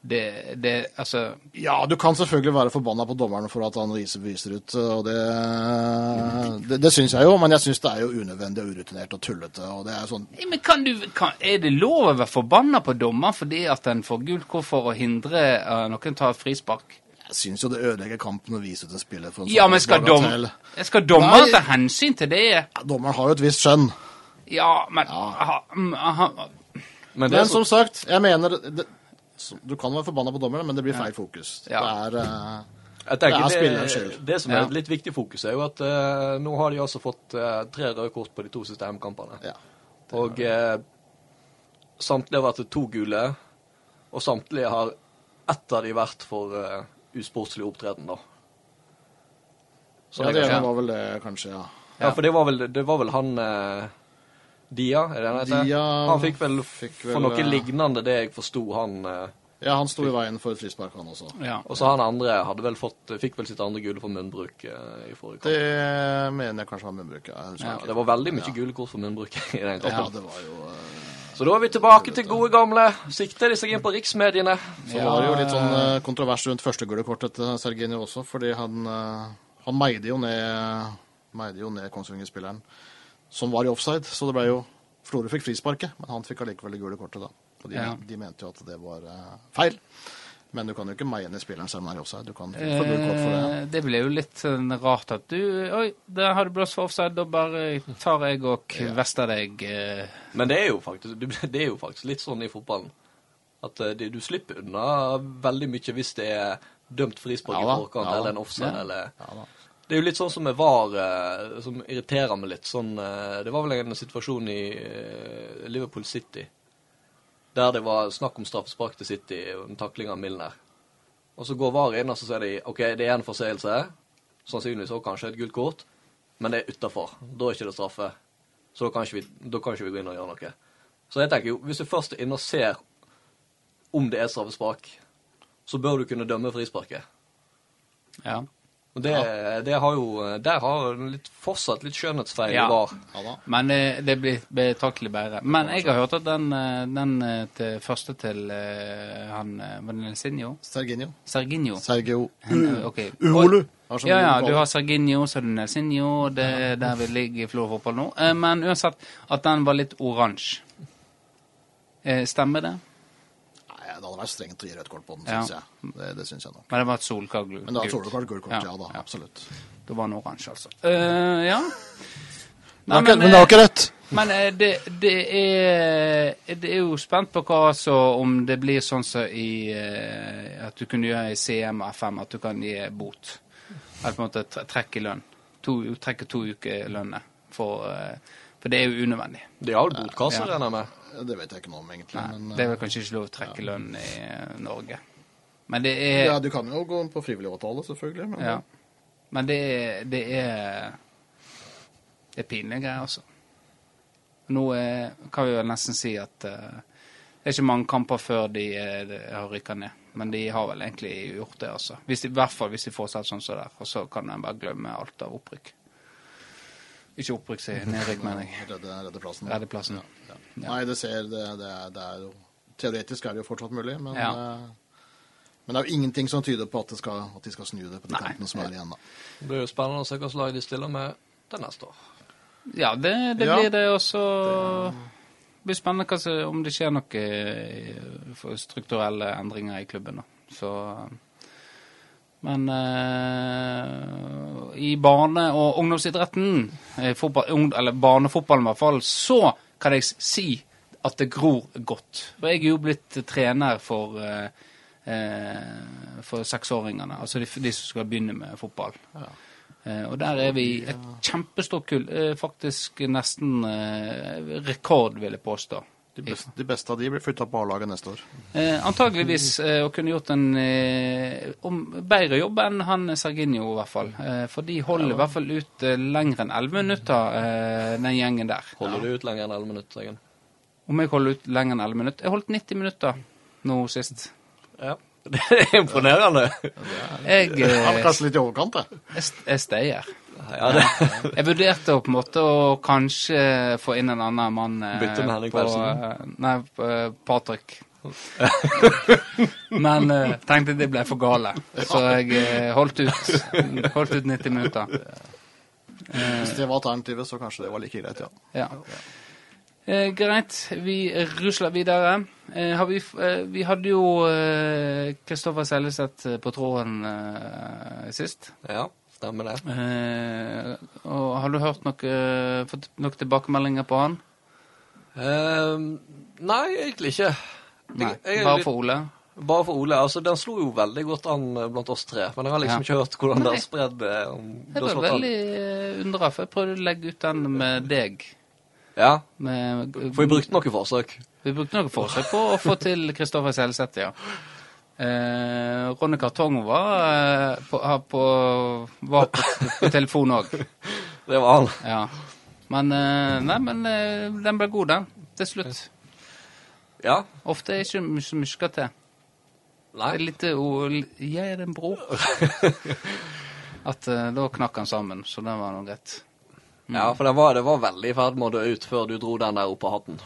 Speaker 1: det, det Altså
Speaker 3: ja, du kan selvfølgelig være forbanna på dommerne for at han viser, viser ut, eh, og det Det, det syns jeg jo, men jeg syns det er jo unødvendig og urutinert og tullete, og det er sånn
Speaker 1: Nei, Men kan du, kan, Er det lov å være forbanna på dommeren fordi at en får gult kort for å hindre eh, noen tar et frispark?
Speaker 3: Jeg syns jo det ødelegger kampen å vise ut en spiller for en
Speaker 1: Ja,
Speaker 3: sånn
Speaker 1: men skal, dom,
Speaker 3: bagatell.
Speaker 1: skal dommeren
Speaker 3: Nei.
Speaker 1: ta hensyn til det?
Speaker 3: Ja, Dommeren har jo et visst skjønn.
Speaker 1: Ja, men
Speaker 3: Ja.
Speaker 1: ha- mm, ha-
Speaker 2: Men det
Speaker 3: Men
Speaker 2: er så,
Speaker 3: som sagt, jeg mener det, som- Du kan være forbanna på dommerne, men det blir feil fokus.
Speaker 1: Ja.
Speaker 3: Det er eh,
Speaker 2: jeg tenker,
Speaker 3: det er spillerens
Speaker 2: det,
Speaker 3: skyld.
Speaker 2: det som er
Speaker 1: Ja.
Speaker 2: et litt viktig fokus, er jo at eh, nå har de altså fått eh, tre røde kort på de to siste hjemmekampene.
Speaker 3: Ja.
Speaker 2: Og eh, samtlige har vært to gule, og samtlige har ett av de vært for eh, usportslig opptreden, da. Så
Speaker 3: ja, det
Speaker 2: jeg,
Speaker 1: kanskje.
Speaker 3: ene var vel det, kanskje, ja.
Speaker 2: ja, for det var vel, det var vel han eh, Dia, er det han heter?
Speaker 3: Dia
Speaker 2: han fikk vel,
Speaker 3: fikk
Speaker 2: for
Speaker 3: vel,
Speaker 2: noe
Speaker 3: eh,
Speaker 2: lignende det jeg forsto han eh,
Speaker 3: Ja, han sto i veien for et frispark, han også.
Speaker 1: ja.
Speaker 2: Og så han andre hadde vel fått, fikk vel sitt andre gule for munnbruk eh, i forrige kamp.
Speaker 3: Det mener jeg kanskje var munnbruket. Jeg husker
Speaker 2: Ja,
Speaker 3: ikke.
Speaker 2: det var veldig mye gule kort for munnbruk i den
Speaker 3: ja,
Speaker 2: kampen.
Speaker 3: det var jo eh,
Speaker 2: Så da er vi tilbake til gode gamle. Sikter de seg inn på riksmediene?
Speaker 3: Så var det jo litt sånn eh, kontrovers rundt første gule kortet til Serginio også, fordi han, eh, han meide jo ned, meide jo ned Kongsvinger-spilleren, som var i offside, så det ble jo Florø fikk frisparket, men han fikk allikevel det gule kortet, da. Og de,
Speaker 1: Ja.
Speaker 3: de mente jo at det var eh, feil. Men du kan jo ikke meie ned spilleren selv om han er i offside. Du kan få gult kort for det.
Speaker 1: Eh, Det ble jo litt sånn rart at du Oi, der har du blåst for offside, da bare tar jeg og kvester deg. eh.
Speaker 2: Men det er, jo faktisk, det er jo faktisk litt sånn i fotballen. At eh, det- du slipper unna veldig mye hvis det er dømt frispark
Speaker 3: Ja
Speaker 2: i
Speaker 3: da,
Speaker 2: forkant,
Speaker 3: ja da,
Speaker 2: eller en offside,
Speaker 1: ja.
Speaker 2: eller
Speaker 3: Ja, da.
Speaker 2: Det er jo litt sånn som med VAR, eh, som irriterer meg litt. Sånn, eh, det var vel en situasjon i eh, Liverpool City der det var snakk om straffespark til City og en takling av Milner. Og så går VAR inn, og så sier de OK, det er en forseelse. Sannsynligvis også kanskje et gult kort, men det er utafor. Da er ikke det straffe. Så da kan ikke, vi, da kan ikke vi gå inn og gjøre noe. Så jeg tenker jo, hvis du først er inne og ser om det er straffespark, så bør du kunne dømme frisparket.
Speaker 1: Ja.
Speaker 2: Og det, det har jo eh, Der har den litt, fortsatt litt skjønnhetsfeil
Speaker 1: Ja.
Speaker 2: i VAR.
Speaker 3: Ja, da.
Speaker 1: Men eh, det blir betraktelig bedre. Men jeg har hørt at den, eh, den eh, til, første til eh, han eh, Var det Nelsinho?
Speaker 3: Serginio.
Speaker 1: Serginio?
Speaker 3: Sergio
Speaker 1: Han, eh, ok.
Speaker 3: Uholu. sånn
Speaker 1: Ja, ja, du har Serginio, så er det Nelsinho, det er der vi ligger i Florø fotball nå. Eh, Men uansett, at den var litt oransje. Eh, Stemmer det?
Speaker 3: Nei, det hadde vært strengt å gi rødt kort på den,
Speaker 1: Ja.
Speaker 3: syns jeg. Det, det syns jeg nok.
Speaker 1: Men det var et solkagel.
Speaker 3: Men da tåler du kanskje gult kort,
Speaker 1: Ja,
Speaker 3: ja da.
Speaker 1: ja.
Speaker 3: Absolutt.
Speaker 1: Da var han oransje, altså. Eh, ja. Nei, eh,
Speaker 3: Men det var ikke- men det var ikke rødt!
Speaker 1: men eh, det, det, er, det er jo spent på hva altså, om det blir sånn som i eh, At du kunne gjøre i CM og FM, at du kan gi bot. Eller på en måte tre- trekk i lønn. To, trekke to uker lønner. For, eh, for det er jo unødvendig.
Speaker 2: De har vel botkasser,
Speaker 1: Ja.
Speaker 2: regner jeg med.
Speaker 3: Det vet jeg ikke noe om, egentlig.
Speaker 1: Nei,
Speaker 3: men, eh,
Speaker 1: det er vel kanskje ikke lov å trekke lønn i eh, Norge. Men det er
Speaker 3: eh, Ja, du kan jo gå på frivillig avtale, selvfølgelig. Men
Speaker 1: Ja. Men det, er- det er Det er pinlige greier, altså. Nå er, kan vi vel nesten si at eh, det er ikke mange kamper før de, eh, de har rykka ned. Men de har vel egentlig gjort det, altså. Hvis de, I hvert fall hvis de fortsetter sånn som det der. Og så kan en bare glemme alt av opprykk. Ikke opprykk, si. Nedrykk, mener jeg.
Speaker 3: redde, eh, redde plassen.
Speaker 1: Redde plassen.
Speaker 3: Ja. Nei, det ser det, det, er, det er jo Teoretisk er det jo fortsatt mulig, men,
Speaker 1: Ja.
Speaker 3: eh, men det er jo ingenting som tyder på at, det skal, at de skal snu det på de
Speaker 1: Nei.
Speaker 3: kampene som er igjen. da.
Speaker 2: Det blir jo spennende å se hva slags lag de stiller med til neste år.
Speaker 1: Ja, det, det
Speaker 3: Ja.
Speaker 1: blir det. Og så blir det spennende hva som- om det skjer noen eh, for strukturelle endringer i klubben. Da. Så Men eh, i barne- og ungdomsidretten, eh, fotball, ung, eller barnefotballen i hvert fall, så kan jeg s- si at det gror godt. For jeg er jo blitt trener for eh, eh, for seksåringene, altså de, de som skal begynne med fotball. Eh, og der er vi i et kjempestort kull. Eh, faktisk nesten eh, rekord, vil jeg påstå.
Speaker 3: De beste, de beste av de blir flytta på A-laget neste år.
Speaker 1: Eh, antageligvis eh, og kunne gjort en eh, om, bedre jobb enn han Serginio, i hvert fall. Eh, for de holder i hvert fall ut eh, lenger enn 11 minutter, eh, den gjengen der.
Speaker 2: Holder du ut lenger enn 11 minutter, Eggen?
Speaker 1: Om jeg holder ut lenger enn 11 minutter Jeg holdt 90 minutter nå sist.
Speaker 2: Ja. Det er imponerende.
Speaker 1: Jeg,
Speaker 3: Ja,
Speaker 1: eh,
Speaker 3: kanskje litt i overkant, det.
Speaker 1: jeg, st- jeg steier.
Speaker 2: Ja, det.
Speaker 1: Jeg vurderte å på en måte å kanskje få inn en annen mann eh,
Speaker 2: Bytte med Henrik
Speaker 1: på,
Speaker 2: Berntsen?
Speaker 1: eh, Nei, på, eh, Patrick. Men eh, tenkte det ble for gale, så jeg eh, holdt ut. Holdt ut 90 minutter.
Speaker 3: Hvis det var alternativet, så kanskje det var like greit, ja.
Speaker 1: Ja. Eh, greit, vi rusler videre. Eh, har vi, f- eh, vi hadde jo eh, Kristoffer Seljeseth eh, på tråden eh, sist.
Speaker 2: Ja, stemmer det.
Speaker 1: Eh, og har du hørt noe, eh, fått noen tilbakemeldinger på han?
Speaker 2: Ehm, nei, egentlig ikke. Jeg-
Speaker 1: Nei,
Speaker 2: jeg er
Speaker 1: bare
Speaker 2: litt-
Speaker 1: for Ole?
Speaker 2: Bare for Ole. altså Den slo jo veldig godt an eh, blant oss tre. Men jeg har
Speaker 1: Ja.
Speaker 2: liksom ikke hørt hvordan det
Speaker 1: Nei.
Speaker 2: har spredd. eh, om
Speaker 1: Jeg
Speaker 2: det har
Speaker 1: var
Speaker 2: slått an.
Speaker 1: veldig eh, undra, for jeg prøvde å legge ut den med deg.
Speaker 2: Ja,
Speaker 1: Med,
Speaker 2: For vi brukte noen forsøk.
Speaker 1: Vi brukte noen forsøk på å få til Kristoffer Selseth, ja. Eh, Ronny Kartong var, eh, på, har på, var på, på telefon òg.
Speaker 2: Det var han.
Speaker 1: Ja. Men, eh, nei, men eh, den ble god, den. Til slutt.
Speaker 2: Ja.
Speaker 1: Ofte er det ikke mye som skal til. Det er
Speaker 2: Nei.
Speaker 1: litt eh, o- Jeg er din bror. At eh, da knakk han sammen, så det var nå greit.
Speaker 2: Ja, for det var, det var veldig i ferd med å dø ut før du dro den der opp av hatten.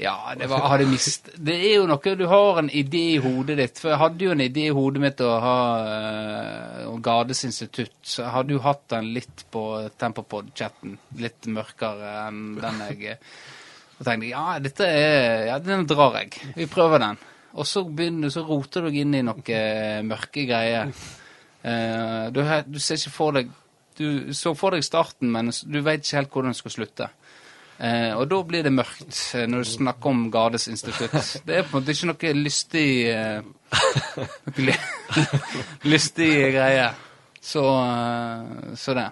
Speaker 1: Ja, det var, hadde mist. Det er jo noe Du har en idé i hodet ditt. For jeg hadde jo en idé i hodet mitt å ha eh, om Gades institutt. Så jeg hadde jo hatt den litt på Tempopod-chatten. Litt mørkere enn den jeg eh, Og tenkte ja, dette er Ja, den drar jeg. Vi prøver den. Og så begynner du, så roter du deg inn i noe mørke greier. Eh, du, har- du ser ikke for deg Du så for deg starten, men du veit ikke helt hvordan du skal slutte. Eh, og da blir det mørkt eh, når du snakker om Gades institutt. Det er på en måte ikke noe lystig eh, Noe ly- lystig greie. Så, eh, så det.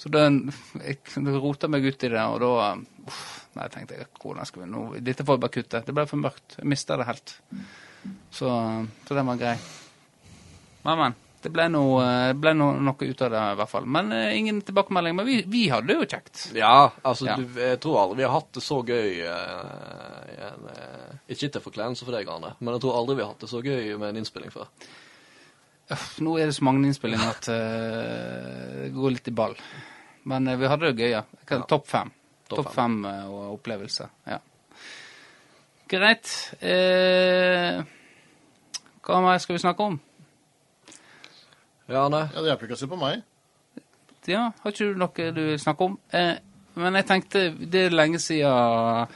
Speaker 1: Så da jeg rota meg ut i det, og da eh, uff, Nei, tenkte jeg hvordan skal vi nå Dette får jeg bare kutte. Det ble for mørkt. Jeg mista det helt. Så, eh, så den var grei. Men, men. Det ble, noe, eh, ble noe, noe ut av det, i hvert fall. Men eh, ingen tilbakemelding. Men vi, vi hadde det jo kjekt.
Speaker 2: Ja, altså,
Speaker 1: Ja.
Speaker 2: Du, jeg tror aldri vi har hatt det så gøy eh, i en, eh, Ikke til forkleinelse for deg, Arne, men jeg tror aldri vi har hatt det så gøy med en innspilling før.
Speaker 1: Øff, Nå er det så mange innspillinger at eh, det går litt i ball. Men eh, vi hadde det gøy, ja. Jeg kan- Topp fem.
Speaker 2: Topp
Speaker 1: Topp fem eh, og opplevelse. Ja. Greit. Eh, hva mer skal vi snakke om?
Speaker 2: Ja, Arne?
Speaker 3: ja det hjelper ikke å si på meg.
Speaker 1: Ja, har ikke du noe du vil snakke om? Eh, men jeg tenkte, det er lenge siden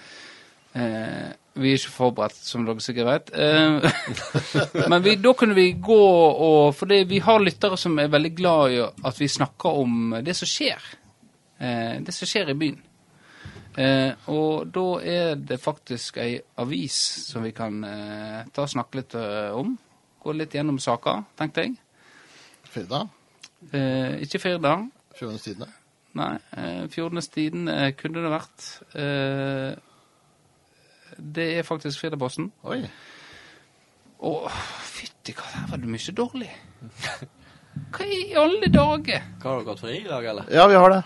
Speaker 1: eh, Vi er ikke forberedt, som dere sikkert vet. Eh, men vi, da kunne vi gå og For det, vi har lyttere som er veldig glad i at vi snakker om det som skjer. Eh, det som skjer i byen. Eh, og da er det faktisk ei avis som vi kan eh, ta og snakke litt eh, om. Gå litt gjennom saker, tenkte jeg.
Speaker 3: Firda.
Speaker 1: Eh, ikke Firda.
Speaker 3: Fjordenes Tidende.
Speaker 1: Nei, eh, Fjordenes Tiden eh, kunne det vært. Eh, det er faktisk Firdaposten.
Speaker 3: Oi.
Speaker 1: Å, fytti hva, der var det mye dårlig. Hva i alle dager?
Speaker 2: Hva Har dere hatt fri i dag, eller?
Speaker 3: Ja, vi har det.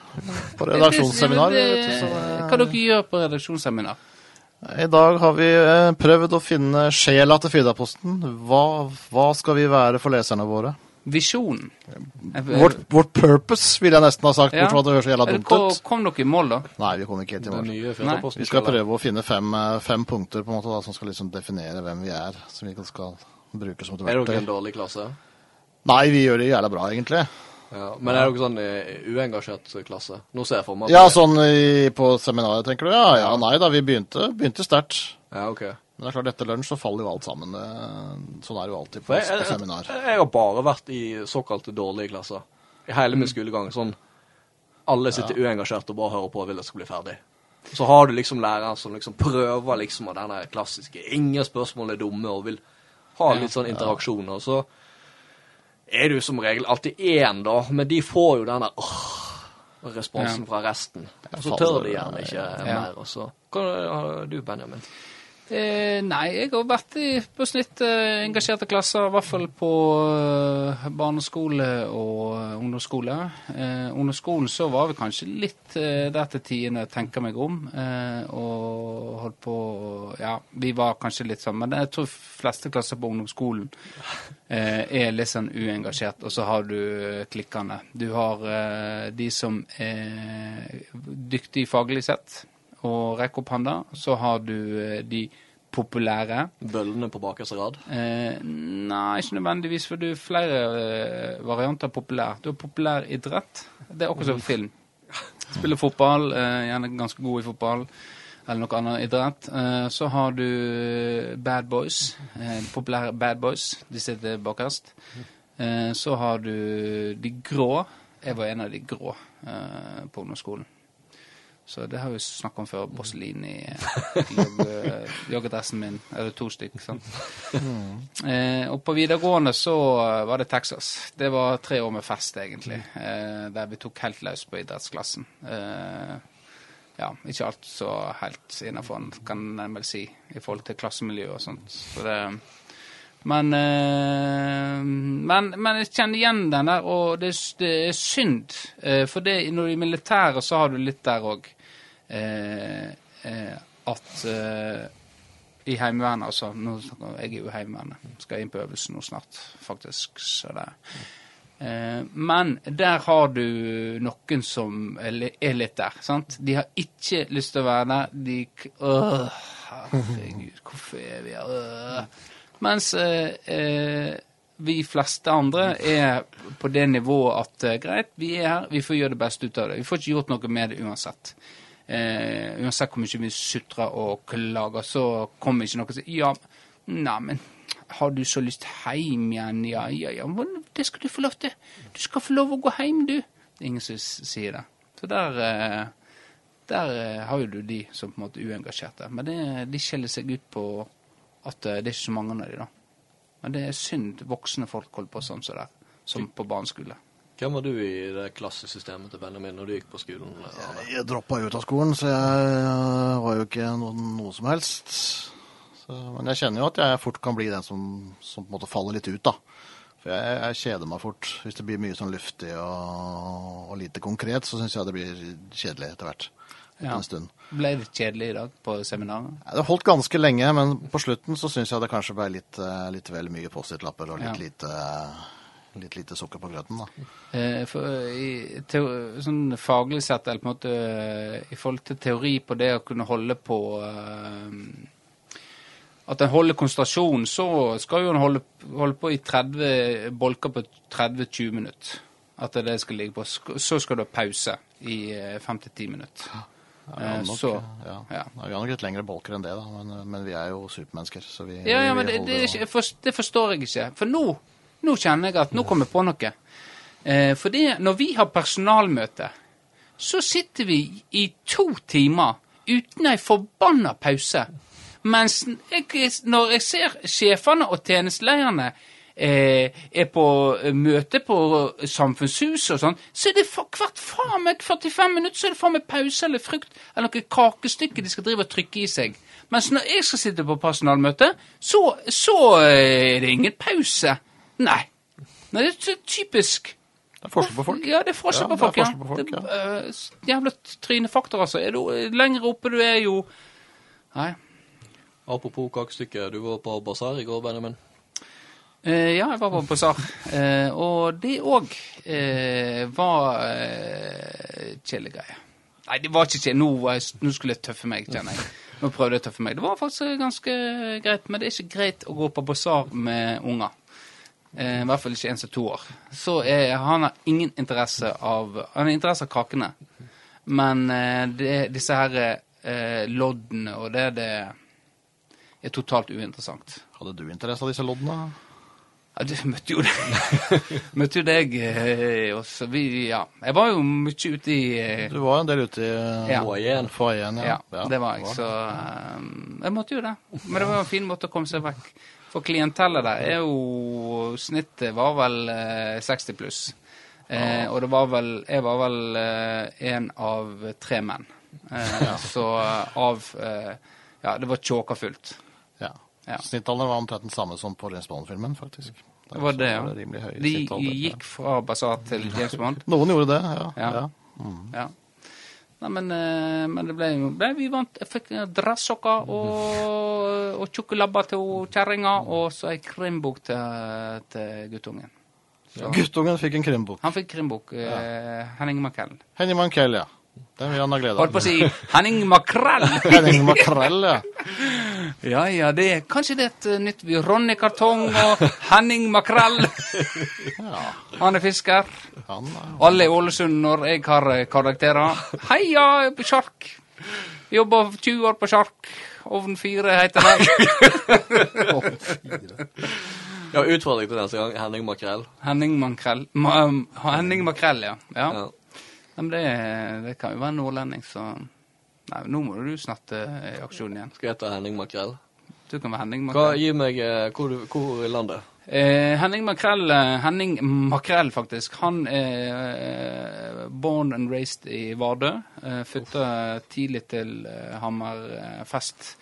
Speaker 3: På redaksjonsseminar.
Speaker 1: Det-
Speaker 3: vet du, så eh, det-
Speaker 1: Hva dere gjør på redaksjonsseminar?
Speaker 3: I dag har vi eh, prøvd å finne sjela til Firdaposten. Hva, hva skal vi være for leserne våre?
Speaker 1: Visjonen. Eh,
Speaker 3: Vårt, vårt purpose, ville jeg nesten ha sagt,
Speaker 1: Ja.
Speaker 3: bortsett fra at det høres så jævla
Speaker 1: eh,
Speaker 3: dumt
Speaker 1: ko-
Speaker 3: ut.
Speaker 1: Kom dere i mål, da?
Speaker 3: Nei, vi kommer ikke helt i
Speaker 2: Den
Speaker 3: mål.
Speaker 2: nye Firdaposten?
Speaker 3: Vi skal prøve å finne fem, eh, fem punkter på en måte da, som skal liksom definere hvem vi er, som vi skal bruke som
Speaker 2: Er
Speaker 3: et
Speaker 2: dere en
Speaker 3: verktøy.
Speaker 2: dårlig klasse?
Speaker 3: Nei, vi gjør det jævla bra, egentlig.
Speaker 2: Ja. Men er dere sånn eh, uengasjert klasse? Nå ser jeg for meg at
Speaker 3: Ja,
Speaker 2: det-
Speaker 3: sånn i, på seminaret, tenker du? Ja, ja, nei da, vi begynte, begynte sterkt.
Speaker 2: Ja, ok.
Speaker 3: Men det er klart, etter lunsj så faller jo alt sammen. eh, Sånn er det jo alltid på,
Speaker 2: For jeg, jeg,
Speaker 3: på
Speaker 2: jeg,
Speaker 3: seminar.
Speaker 2: jeg har bare vært i såkalte dårlige klasser. I hele min skolegang. Sånn alle sitter uengasjert og bare hører på og vil at det skal bli ferdig. Så har du liksom læreren som liksom prøver liksom av denne klassiske Ingen spørsmål er dumme, og vil ha litt sånn interaksjon. Og så er du som regel alltid én, da, men de får jo den der åh, og responsen fra resten. Og så
Speaker 3: faller-
Speaker 2: tør de gjerne ikke
Speaker 1: Ja.
Speaker 2: mer. Og så Hva har du, Benjamin?
Speaker 1: Eh, nei, jeg har vært i, på snitt eh, engasjerte klasser, i hvert fall på eh, barneskole og eh, ungdomsskole. Eh, ungdomsskolen så var vi kanskje litt eh, der til tiende, tenker meg om. Eh, og holdt på Ja, vi var kanskje litt sånn, men jeg tror fleste klasser på ungdomsskolen eh, er litt sånn uengasjert. Og så har du eh, klikkene. Du har eh, de som er dyktige faglig sett og rekke opp handa. Så har du eh, de populære.
Speaker 2: Bøllene på bakerste rad?
Speaker 1: Eh, nei, ikke nødvendigvis, for du har flere eh, varianter av populær. Du har populær idrett. Det er akkurat som film. Spiller fotball, eh, gjerne ganske god i fotball. Eller noe annet idrett. Eh, så har du bad boys. Eh, de populære bad boys. De sitter bakerst. Eh, så har du de grå. Jeg var en av de grå eh, på ungdomsskolen. Så det har vi snakket om før. Borselini-joggedressen min. Eller to stykk, sant. Eh, og på videregående så eh, var det Texas. Det var tre år med fest, egentlig. Eh, der vi tok helt løs på idrettsklassen. Eh, ja, ikke alt så helt innafor, kan en vel si, i forhold til klassemiljø og sånt. Så det, men, eh, men, men jeg kjenner igjen den der, og det, er s- det er synd. Eh, for det, når du er i militæret, så har du litt der òg. Eh, eh, at eh, i Heimevernet, altså. Nå snakker jeg, jeg er jo i Heimevernet. Skal inn på øvelse nå snart, faktisk. Så det Eh, men der har du noen som er li- er litt der, sant? De har ikke lyst til å være der. De k- Åh, herregud, hvorfor er vi her? Øh. Mens eh, eh, vi fleste andre er på det nivået at eh, greit, vi er her, vi får gjøre det beste ut av det. Vi får ikke gjort noe med det uansett. Eh, uansett hvor mye vi sutrer og klager, så kommer ikke noe og sier ja, neimen har du så lyst hjem igjen? Ja, ja, ja, men det skal du få lov til. Du skal få lov å gå hjem, du. Det er ingen som s- sier det. Så der, eh, der eh, har jo du de som på en måte er uengasjerte. Men det, de skjeller seg ut på at eh, det er ikke så mange av de, da. Men det er synd voksne folk holder på sånn som det er, som på barneskole.
Speaker 2: Hvem var du i det klassesystemet til Benjamin når du gikk på skolen? Arne?
Speaker 3: Jeg droppa ut av skolen, så jeg øh, var jo ikke noe, noe som helst. Så, men jeg kjenner jo at jeg fort kan bli den som, som på en måte faller litt ut, da. For jeg, jeg kjeder meg fort. Hvis det blir mye sånn luftig og, og lite konkret, så syns jeg det blir kjedelig etter hvert. Etter
Speaker 1: Ja.
Speaker 3: en stund.
Speaker 1: Ble det kjedelig i dag på seminaret?
Speaker 3: Ja, Det holdt ganske lenge, men på slutten så syns jeg det kanskje ble litt, eh, litt vel mye Post-It-lapper og litt,
Speaker 1: Ja.
Speaker 3: lite, litt lite sukker på grøten, da.
Speaker 1: Eh, for, eh, i, teo, sånn faglig sett, eller på en måte eh, i forhold til teori på det å kunne holde på eh, At en holder konsentrasjon, så skal jo en holde, holde på i 30 bolker på 30-20 minutter. At det er det det skal ligge på. Sk- Så skal du ha pause i eh, 5-10 minutter.
Speaker 3: Ja, vi har
Speaker 1: Eh,
Speaker 3: nok,
Speaker 1: så,
Speaker 3: ja.
Speaker 1: ja.
Speaker 3: Nei, Vi har nok litt lengre bolker enn det, da, men, eh, men vi er jo supermennesker. Så vi,
Speaker 1: Ja, ja,
Speaker 3: vi
Speaker 1: men det,
Speaker 3: holder
Speaker 1: det, er
Speaker 3: jo-
Speaker 1: ikke, jeg forst- det forstår jeg ikke. For nå, nå kjenner jeg at nå kommer jeg på noe. Eh, for det, når vi har personalmøte, så sitter vi i to timer uten ei forbanna pause. Mens jeg, når jeg ser sjefene og tjenestelederne eh, er på møte på samfunnshuset og sånn, så er det for, hvert faen meg 45 minutter så er det faen meg pause eller frukt eller noe kakestykke de skal drive og trykke i seg. Mens når jeg skal sitte på personalmøte, så, så eh, er det ingen pause. Nei. Nei, det er så typisk.
Speaker 3: Det er forskjell på folk.
Speaker 1: Ja, det er forskjell
Speaker 3: Ja,
Speaker 1: på
Speaker 3: det er
Speaker 1: folk. Ja,
Speaker 3: forskjell på folk,
Speaker 1: Det er, øh, s- jævla trynefaktor, altså. Er du, lenger oppe du er, jo Nei.
Speaker 2: Apropos kakestykke, du var på basar i går, Benjamin.
Speaker 1: Eh, ja, jeg var på basar. Eh, og det òg eh, var eh, kjedelige greier. Nei, det var ikke kjedelig. Nå, var jeg, nå skulle jeg tøffe meg, kjenner jeg. Nå prøvde jeg å tøffe meg. Det var faktisk eh, ganske greit, men det er ikke greit å gå på basar med unger. Eh, I hvert fall ikke en som er to år. Så eh, han har ingen interesse av Han har interesse av kakene, men eh, det, disse her eh, loddene og det, det er totalt uinteressant.
Speaker 3: Hadde du interesse av disse loddene?
Speaker 1: Ja, du møtte jo deg. møtte jo deg eh, også. Vi, ja. Jeg var jo mye ute i eh,
Speaker 3: Du var en del ute i eh,
Speaker 1: Ja.
Speaker 2: Foajeen.
Speaker 3: foajeen.
Speaker 1: ja, det var jeg. Så eh, jeg måtte jo det. Men det var jo en fin måte å komme seg vekk. For klientellet der er jo Snittet var vel eh, 60 pluss. Eh, og det var vel Jeg var vel én av tre menn. Eh, Så av eh, Ja, det var tjåka fullt.
Speaker 3: Ja.
Speaker 1: Ja.
Speaker 3: Snittalderen var omtrent den samme som på James Bond-filmen, faktisk. Der
Speaker 1: Det var
Speaker 3: også
Speaker 1: det, ja.
Speaker 3: var det rimelig høy
Speaker 1: De
Speaker 3: snittalder, ja.
Speaker 1: gikk fra basar til James Bond.
Speaker 3: Noen gjorde det, ja.
Speaker 1: Ja.
Speaker 3: ja.
Speaker 1: Ja. Nei, men, eh, men det ble jo ble- Vi vant. Jeg fikk eh, dressokker og, og tjukke labber til kjerringa, og så ei krimbok til, til guttungen.
Speaker 3: Guttungen fikk en krimbok.
Speaker 1: Han fikk krimbok. Eh, Henning Makrell.
Speaker 3: Henny Mankell, ja. Den vil han ha glede
Speaker 1: Holdt på å si Henning Makrell!
Speaker 3: Henning Makrell, ja.
Speaker 1: Ja, ja, det er kanskje det er et eh, nytt by. Ronny Kartong og Henning Makrell.
Speaker 3: ja.
Speaker 1: Han er fisker.
Speaker 3: Han er jo
Speaker 1: Alle i Ålesund når jeg har eh, karakterer. Heia på Sjark! Jobba 20 år på Sjark. Ovn 4 heter han.
Speaker 3: fire.
Speaker 2: Ja, utfordring til neste gang. Henning Makrell.
Speaker 1: Henning Makrell. Ma, um, Henning Makrell, ja. ja.
Speaker 2: Ja.
Speaker 1: Men det, det kan jo være nordlending, så Nei, nå må du snatte eh, i aksjon igjen.
Speaker 2: Skal jeg hete Henning Makrell?
Speaker 1: Du kan være Henning
Speaker 2: Hva,
Speaker 1: Makrell.
Speaker 2: gi meg eh, hvor, du- hvor i landet?
Speaker 1: Eh, Henning Makrell, eh, Henning Makrell faktisk, han er eh, born and raised i Vardø. Eh, Flytta tidlig til eh, Hammerfest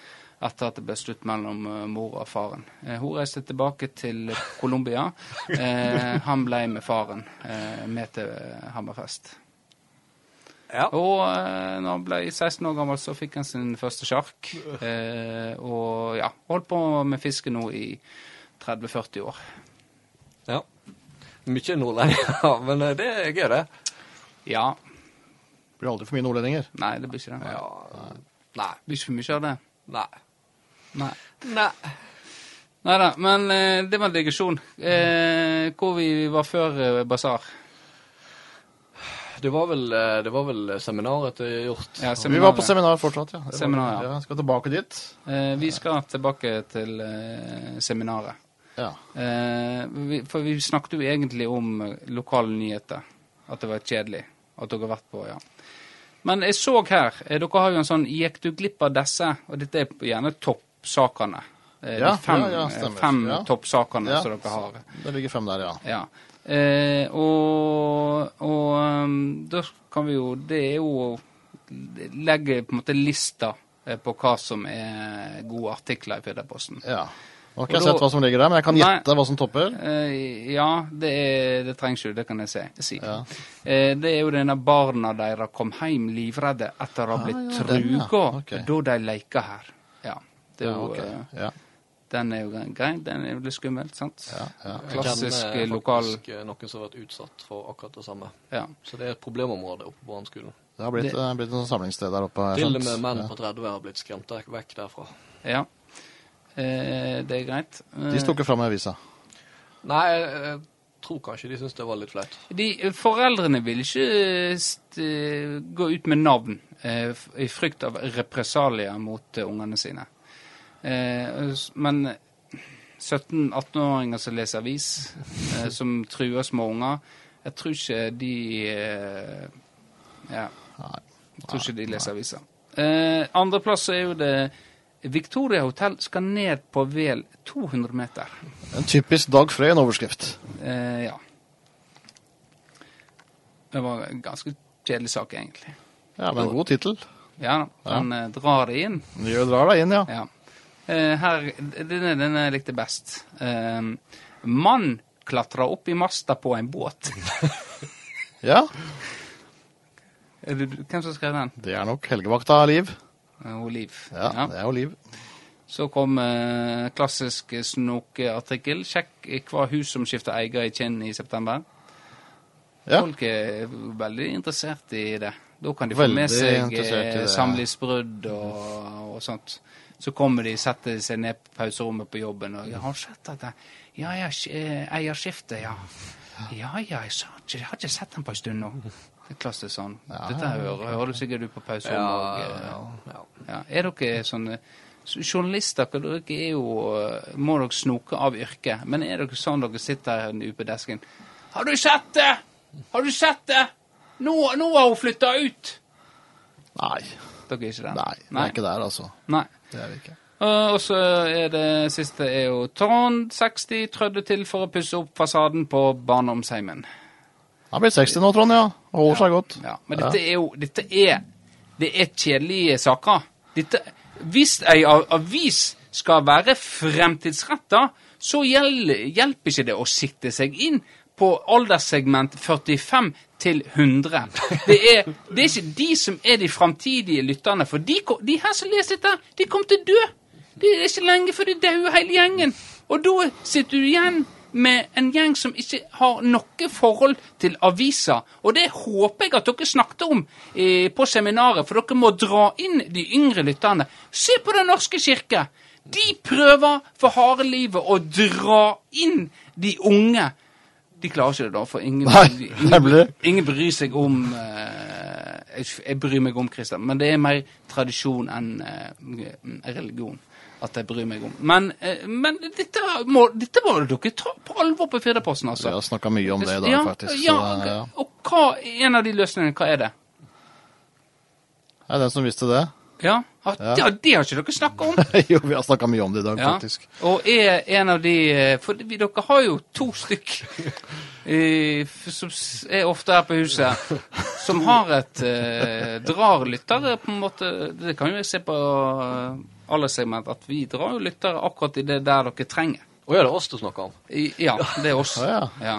Speaker 1: etter at det ble slutt mellom eh, mor og faren. Eh, hun reiste tilbake til Colombia. Eh, han ble med faren eh, med til eh, Hammerfest.
Speaker 2: Ja.
Speaker 1: Og eh, når han ble 16 år gammel, så fikk han sin første sjark. Eh, og ja, holdt på med fiske nå i 30-40 år.
Speaker 2: ja. Mye nordlendinger, ja, men eh, det er gøy, det.
Speaker 1: Ja.
Speaker 3: Blir aldri for mye nordlendinger.
Speaker 1: Nei, det blir ikke det.
Speaker 2: Ja.
Speaker 1: Nei. Det blir ikke for mye av det.
Speaker 2: Nei.
Speaker 1: Nei.
Speaker 2: Nei.
Speaker 1: Nei da, men eh, det var en digresjon. Eh, hvor vi var før eh, basar.
Speaker 2: Det var vel, eh, det var vel seminaret til Hjort.
Speaker 1: Ja,
Speaker 3: Vi var på seminar fortsatt, ja. Det var-
Speaker 1: Seminar, ja.
Speaker 3: ja. Skal tilbake dit.
Speaker 1: Eh, vi skal tilbake til eh, seminaret.
Speaker 3: Ja.
Speaker 1: Eh, vi, for vi snakket jo egentlig om eh, lokale nyheter. At det var kjedelig. At dere har vært på, ja. Men jeg så her eh, Dere har jo en sånn 'Gikk du glipp av disse?' Og dette er gjerne toppsakene. Eh,
Speaker 3: Ja,
Speaker 1: de fem
Speaker 3: ja, ja,
Speaker 1: eh,
Speaker 3: stemmer.
Speaker 1: fem
Speaker 3: Ja.
Speaker 1: toppsakene
Speaker 3: Ja,
Speaker 1: som dere har.
Speaker 3: Det ligger fem der, ja.
Speaker 1: Ja. Eh, og og ehm, da kan vi jo Det er jo å legge på en måte lista eh, på hva som er gode artikler i Pederposten.
Speaker 3: ja. Nå har
Speaker 1: Og
Speaker 3: ikke jeg
Speaker 1: da-
Speaker 3: sett hva som ligger der, men jeg kan
Speaker 1: Nei.
Speaker 3: gjette hva som topper.
Speaker 1: Eh, ja, det, er, det trengs jo, det kan jeg si. si.
Speaker 3: Ja.
Speaker 1: Eh, det er jo denne barna deres kom hjem livredde etter å ha blitt
Speaker 3: Ah, ja, den, ja.
Speaker 1: truga
Speaker 3: Ok.
Speaker 1: da de leika her. Ja, det er
Speaker 3: Ja,
Speaker 1: jo,
Speaker 3: ok.
Speaker 1: eh,
Speaker 3: ja,
Speaker 1: Den er jo gre- grei, den er jo litt skummel, sant?
Speaker 3: ja, ja.
Speaker 1: Klassisk
Speaker 2: Jeg kjenner
Speaker 1: lokal
Speaker 2: faktisk, eh, Noen som har vært utsatt for akkurat det samme.
Speaker 1: ja.
Speaker 2: Så det er et problemområde oppe på brannskolen.
Speaker 3: Det har blitt,
Speaker 1: Det-
Speaker 3: eh, blitt et samlingssted der oppe. har jeg
Speaker 2: Til og
Speaker 3: skjønt.
Speaker 2: med menn
Speaker 3: Ja.
Speaker 2: på 30 har blitt skremt vekk- vekk derfra.
Speaker 1: ja. Eh, det er greit.
Speaker 3: De sto ikke fram i avisa.
Speaker 2: Nei, jeg, jeg tror kanskje de syns det var litt flaut.
Speaker 1: De, foreldrene vil ikke eh, st eh, gå ut med navn eh, f- i frykt av represalier mot eh, ungene sine. Eh, s- men 17-18-åringer som leser avis, eh, som truer små unger, jeg tror ikke de eh, Ja.
Speaker 3: Nei.
Speaker 1: Jeg tror ikke de leser aviser. Eh, Andreplass så er jo det Victoria hotell skal ned på vel 200 meter.
Speaker 3: En typisk Dag Frøyen-overskrift.
Speaker 1: Eh, ja. Det var en ganske kjedelig sak, egentlig.
Speaker 3: Ja, men god tittel.
Speaker 1: Ja, han eh, drar det inn.
Speaker 3: Du drar deg inn, ja.
Speaker 1: Ja. Eh, her, denne, denne jeg likte best. Eh, mann klatra opp i masta på en båt.
Speaker 3: Ja,
Speaker 1: Er det du- Hvem som skrev den?
Speaker 3: Det er nok helgevakta Liv.
Speaker 1: Eh, Liv.
Speaker 3: Ja,
Speaker 1: Ja.
Speaker 3: det er jo Liv.
Speaker 1: Så kom eh, klassisk snokeartikkel. Sjekk hva hus som skifter eier i Kinn i september.
Speaker 3: Ja.
Speaker 1: Folk er veldig interessert i det. Da kan de få
Speaker 3: Veldig
Speaker 1: med seg
Speaker 3: interessert i
Speaker 1: eh,
Speaker 3: det, ja.
Speaker 1: samlivsbrudd og, og sånt. Så kommer de, setter seg ned på pauserommet på jobben og ja, 'Har du sett dette?' 'Ja, ja, sk- eh, eierskifte, ja.' 'Ja, ja, jeg, sa, ikke- jeg har ikke sett den på en stund nå.' Det er klassisk sånn. Dette hører, hører du sikkert du på pauserommet eh, òg. Ja,
Speaker 2: eh, ja.
Speaker 1: ja. Er dere sånne så Journalister hva dere er jo, eh, må dere snoke av yrket, men er dere sånn dere sitter her nå på desken? Har du sett det? Har du sett det? Nå, nå har hun flytta ut!
Speaker 3: Nei,
Speaker 1: Dere er ikke den?
Speaker 3: nei, det
Speaker 1: Nei.
Speaker 3: er ikke der, altså.
Speaker 1: Nei.
Speaker 3: Det er det ikke.
Speaker 1: Eh, Og så er det siste er jo Trond 60 trødde til for å pusse opp fasaden på barndomsheimen.
Speaker 3: Han blir 60 nå, Trond, ja. Og holder seg godt.
Speaker 1: Ja, men dette er jo dette er, Det er kjedelige saker. Dette, hvis ei a- avis skal være fremtidsretta, så gjel, hjelper ikke det å sikte seg inn på alderssegment 45 til 100. Det er, det er ikke de som er de framtidige lytterne, for de, ko- de her som leser dette, de kommer til å dø. Det er ikke lenge før de dauer, hele gjengen. Og da sitter du igjen med en gjeng som ikke har noe forhold til aviser. Og det håper jeg at dere snakket om eh, på seminaret, for dere må dra inn de yngre lytterne. Se på Den norske kirke! De prøver for harde livet å dra inn de unge. De klarer ikke det, da, for ingen,
Speaker 3: Nei,
Speaker 1: ingen,
Speaker 3: nemlig.
Speaker 1: ingen bryr seg om eh, jeg, jeg bryr meg om Kristian, men det er mer tradisjon enn eh, religion at jeg bryr meg om. Men, eh, men dette, må, dette må dere ta på alvor på Firdaposten,
Speaker 3: Vi
Speaker 1: altså.
Speaker 3: har snakka mye om det i dag,
Speaker 1: Ja,
Speaker 3: faktisk. Så,
Speaker 1: ja,
Speaker 3: det- ja.
Speaker 1: og hva, en av de løsningene, hva er det?
Speaker 3: Det er den som visste det.
Speaker 1: Ja, ah, Det, det har ikke dere snakka om.
Speaker 3: jo, vi har snakka mye om det i dag,
Speaker 1: Ja.
Speaker 3: faktisk.
Speaker 1: Og er en av de eh, For vi- dere har jo to stykk eh, f- som s- er ofte her på huset, som har et eh, Drar lyttere, på en måte. Det kan jo jeg se på eh, alle segment, at vi drar jo lyttere akkurat i det der dere trenger.
Speaker 2: Å ja, det er oss du snakker om?
Speaker 1: I, ja, det er oss.
Speaker 3: Ja,
Speaker 1: Ja,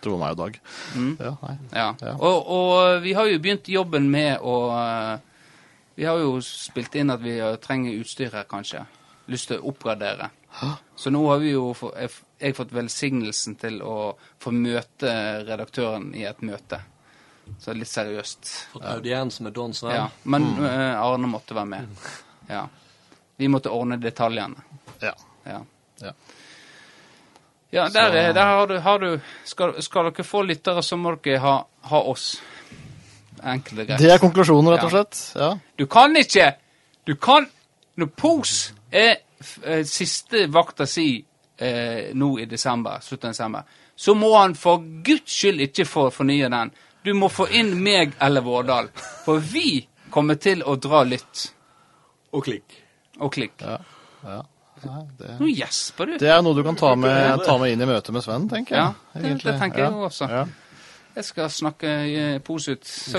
Speaker 3: Tro meg og Dag.
Speaker 1: Mm.
Speaker 3: Ja, nei.
Speaker 1: ja.
Speaker 3: Ja.
Speaker 1: Og, og vi har jo begynt jobben med å eh, Vi har jo spilt inn at vi eh, trenger utstyr her, kanskje. Lyst til å oppgradere. Så nå har vi jo få- jeg f- jeg fått velsignelsen til å få møte redaktøren i et møte. Så litt seriøst.
Speaker 2: Fått audiens med Don Sven?
Speaker 1: Ja. Men
Speaker 3: Mm.
Speaker 1: eh, Arne måtte være med. Ja. Vi måtte ordne detaljene.
Speaker 3: Ja.
Speaker 1: Ja.
Speaker 3: Ja.
Speaker 1: Ja, der, er, der har du, har du skal, skal dere få lyttere, så må dere ha, ha oss. Enkelt og greit.
Speaker 3: Det er konklusjonen, rett og
Speaker 1: Ja.
Speaker 3: slett. Ja.
Speaker 1: Du kan ikke Du kan Når Pose er f- eh, siste vakta si eh, nå i desember, slutten av desember, så må han for guds skyld ikke få fornye den. Du må få inn meg eller Vårdal. For vi kommer til å dra lytt
Speaker 2: Og klikk.
Speaker 1: og klikk.
Speaker 3: ja. Nei, det...
Speaker 1: Nå gjesper du.
Speaker 3: det er noe du kan ta med, ta med inn i møtet med Sven, tenker jeg.
Speaker 1: Ja, det- det
Speaker 3: egentlig.
Speaker 1: tenker jeg også.
Speaker 3: Ja.
Speaker 1: Jeg skal snakke eh, Pose ut. Så,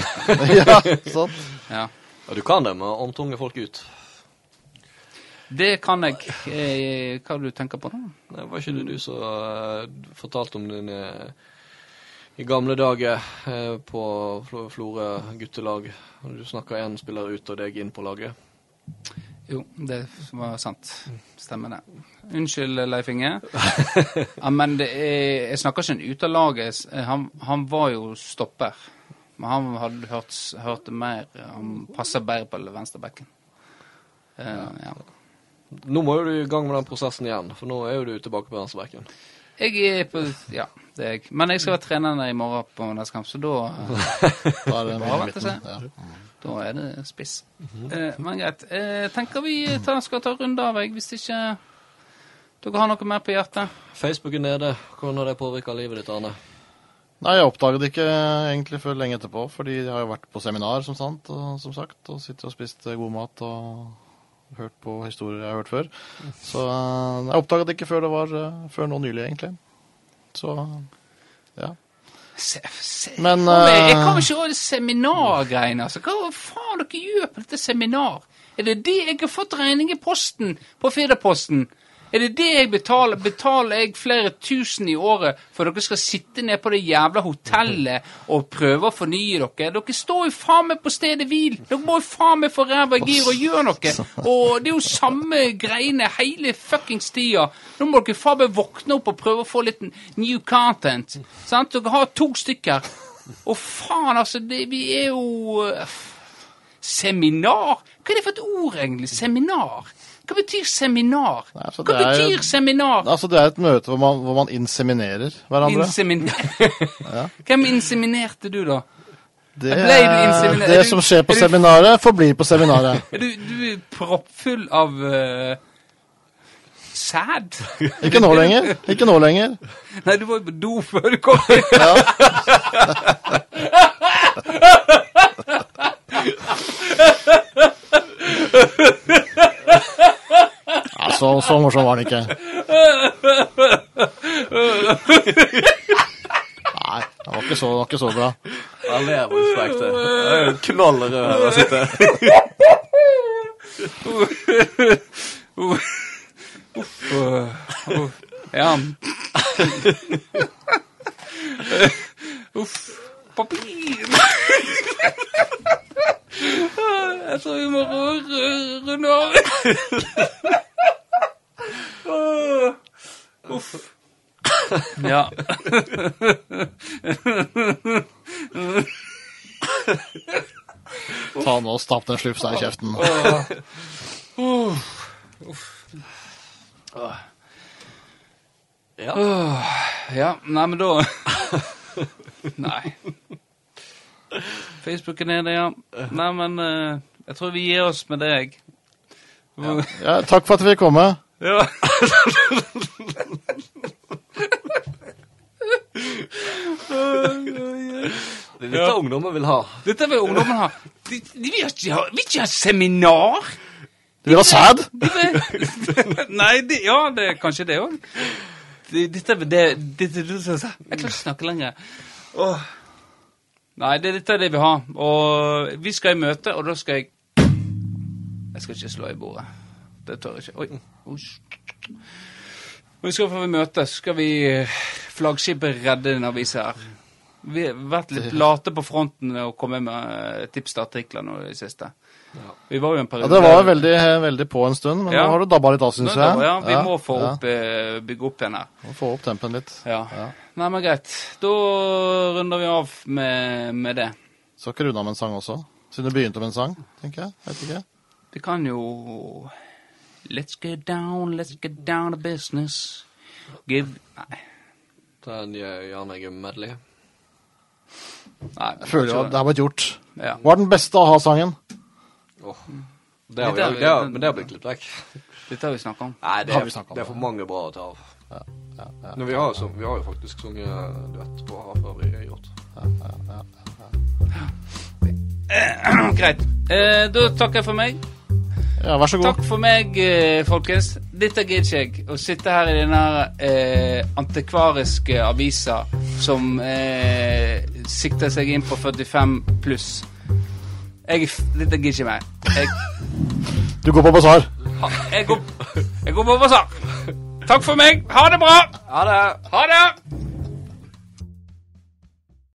Speaker 3: ja, sånn. sant.
Speaker 1: ja.
Speaker 2: Ja, du kan det med å omtunge folk ut.
Speaker 1: Det kan jeg. Eh, hva er det du tenker på nå?
Speaker 2: Nei, var ikke det du som eh, fortalte om din eh, i gamle dager eh, på Flo Florø guttelag? og Du snakka én spiller ut og deg inn på laget.
Speaker 1: Jo, det var sant. Stemmer det. Unnskyld, Leif Inge. Ja, men det er, jeg snakker ikke en ut av laget. Jeg s- Han, han var jo stopper. Men han hadde hørt, s- hørt det mer. Han passer bedre på venstrebekken. Eh, ja.
Speaker 2: Nå må jo du i gang med den prosessen igjen, for nå er jo du tilbake på venstrebekken.
Speaker 1: Jeg er på Ja, det er jeg. Men jeg skal være trener i morgen på neste kamp, så da
Speaker 3: Da er det
Speaker 1: Bra,
Speaker 3: mye i
Speaker 1: vet du,
Speaker 3: midten.
Speaker 1: se.
Speaker 3: Ja.
Speaker 1: Da er det spiss. Eh, men greit. Eh, tenker vi ta, skal ta runde av, jeg, hvis ikke dere har noe mer på hjertet.
Speaker 2: Facebook er nede. Hvordan har det påvirka livet ditt, Arne?
Speaker 3: Nei, jeg oppdaget det ikke egentlig før lenge etterpå, fordi jeg har jo vært på seminar, som, sant, og, som sagt, og sitter og spist eh, god mat og hørt på historier jeg har hørt før. Så eh, jeg oppdaget det ikke før det var eh, før nå nylig, egentlig. Så ja.
Speaker 1: Se, se,
Speaker 3: Men,
Speaker 1: Kom, jeg, jeg
Speaker 3: eh,
Speaker 1: kommer ikke over det seminargreiene. Altså. Hva faen dere gjør på dette seminar? Er det det jeg har fått regning i posten på Firdaposten? Er det det jeg betaler? Betaler jeg flere tusen i året for dere skal sitte ned på det jævla hotellet og prøve å fornye dere? Dere står jo faen meg på stedet hvil! Dere må jo faen meg få ræva i gir og gjøre noe! Og det er jo samme greiene hele fuckings tida. Nå må dere faen meg våkne opp og prøve å få litt new content. Sant? Dere har to stykker. Å, faen, altså. Det, vi er jo eh, Seminar? Hva er det for et ord, egentlig? Seminar? Hva betyr seminar?
Speaker 3: Nei, altså,
Speaker 1: Hva
Speaker 3: det er jo-
Speaker 1: betyr seminar?
Speaker 3: Altså, det er et møte hvor man, hvor man inseminerer hverandre.
Speaker 1: Inseminer... Hvem inseminerte du, da?
Speaker 3: det,
Speaker 1: ble du inseminert?
Speaker 3: det
Speaker 1: Er du-
Speaker 3: som skjer på
Speaker 1: er du-
Speaker 3: seminaret, forblir på seminaret.
Speaker 1: Er du, du er proppfull av eh, sæd?
Speaker 3: Ikke nå lenger. Ikke nå lenger.
Speaker 1: Nei, du var jo på do før du kom inn.
Speaker 3: Nei, så, så morsom var den ikke. Nei, den var ikke så, det var ikke så bra.
Speaker 2: Jeg lever i slekt, det. Jeg er jo knallrød her jeg sitter.
Speaker 1: Uff. øh, uff. Ja. Uff. Papir. Jeg tror vi må ru- ru- runde av. Uff. Ja.
Speaker 3: Ta nå og stapp den slufsa i kjeften.
Speaker 2: Ja.
Speaker 1: Ja, nei, men da Nei. Facebook er nede, ja. Nei, men eh, jeg tror vi gir oss med deg.
Speaker 3: Ja, takk for at vi fikk komme.
Speaker 1: Ja.
Speaker 2: Det er dette ungdommen vil ha.
Speaker 1: Dette vil ungdommen ha. De, de vil ikke ha, vil ikke ha seminar!
Speaker 3: Du vil ha sæd?
Speaker 1: De vil, nei, de, ja, det er kanskje det òg. Dette er det, det, det, det Jeg klarer ikke å snakke lenger. Åh. Nei, det, dette er det vi har. Og vi skal i møte, og da skal jeg Jeg skal ikke slå i bordet. Det tør jeg ikke. Oi. Usch. Vi skal få møte, så skal vi eh, flaggskipet redde en avis her. Vi har vært litt late på fronten med å komme med eh, tips til artikler nå i det siste. Vi var jo en
Speaker 3: Ja,
Speaker 1: periode
Speaker 3: det var veldig, veldig på en stund, men
Speaker 1: Ja.
Speaker 3: nå har du dabba litt av, syns
Speaker 1: Nå,
Speaker 3: jeg.
Speaker 1: da, ja, vi må få
Speaker 3: ja.
Speaker 1: opp, eh, bygge opp igjen her.
Speaker 3: Må få opp tempen litt.
Speaker 1: Ja.
Speaker 3: Ja.
Speaker 1: Nei, men greit. Da runder vi av med, med det.
Speaker 3: Så ikke runde av med en sang også. Siden du begynte med en sang, tenker jeg. Vet ikke.
Speaker 1: Vi kan jo Let's get down, let's get down to business. Give Nei.
Speaker 2: Ta en Jan Eggum medley.
Speaker 1: nei
Speaker 3: Jeg føler jo at det har blitt gjort.
Speaker 1: ja.
Speaker 3: Hva er den beste a-ha-sangen?
Speaker 2: Åh. Det
Speaker 1: Dette
Speaker 2: har vi,
Speaker 1: er vi-
Speaker 2: det har, men det har blitt klippet vekk.
Speaker 1: Dette har vi snakket om.
Speaker 2: Nei, det
Speaker 3: Har
Speaker 2: er,
Speaker 3: vi snakket om
Speaker 2: det er
Speaker 3: det?
Speaker 2: for mange bra å ta av. Men vi, har jo, så- vi har jo faktisk sunget eh, duett på Hafa vi har gjort.
Speaker 1: greit. Eh, da takker jeg for meg.
Speaker 3: Ja, vær så god.
Speaker 1: Takk for meg, eh, folkens. Dette gidder ikke jeg. Å sitte her i denne eh, antikvariske avisa som eh, sikter seg inn på 45 pluss. Jeg, er f- dette gidder ikke mer. Jeg,
Speaker 3: Du går på basar.
Speaker 1: jeg, går, jeg går på basar. Takk for meg. Ha det bra.
Speaker 2: Ha det!
Speaker 1: Ha det.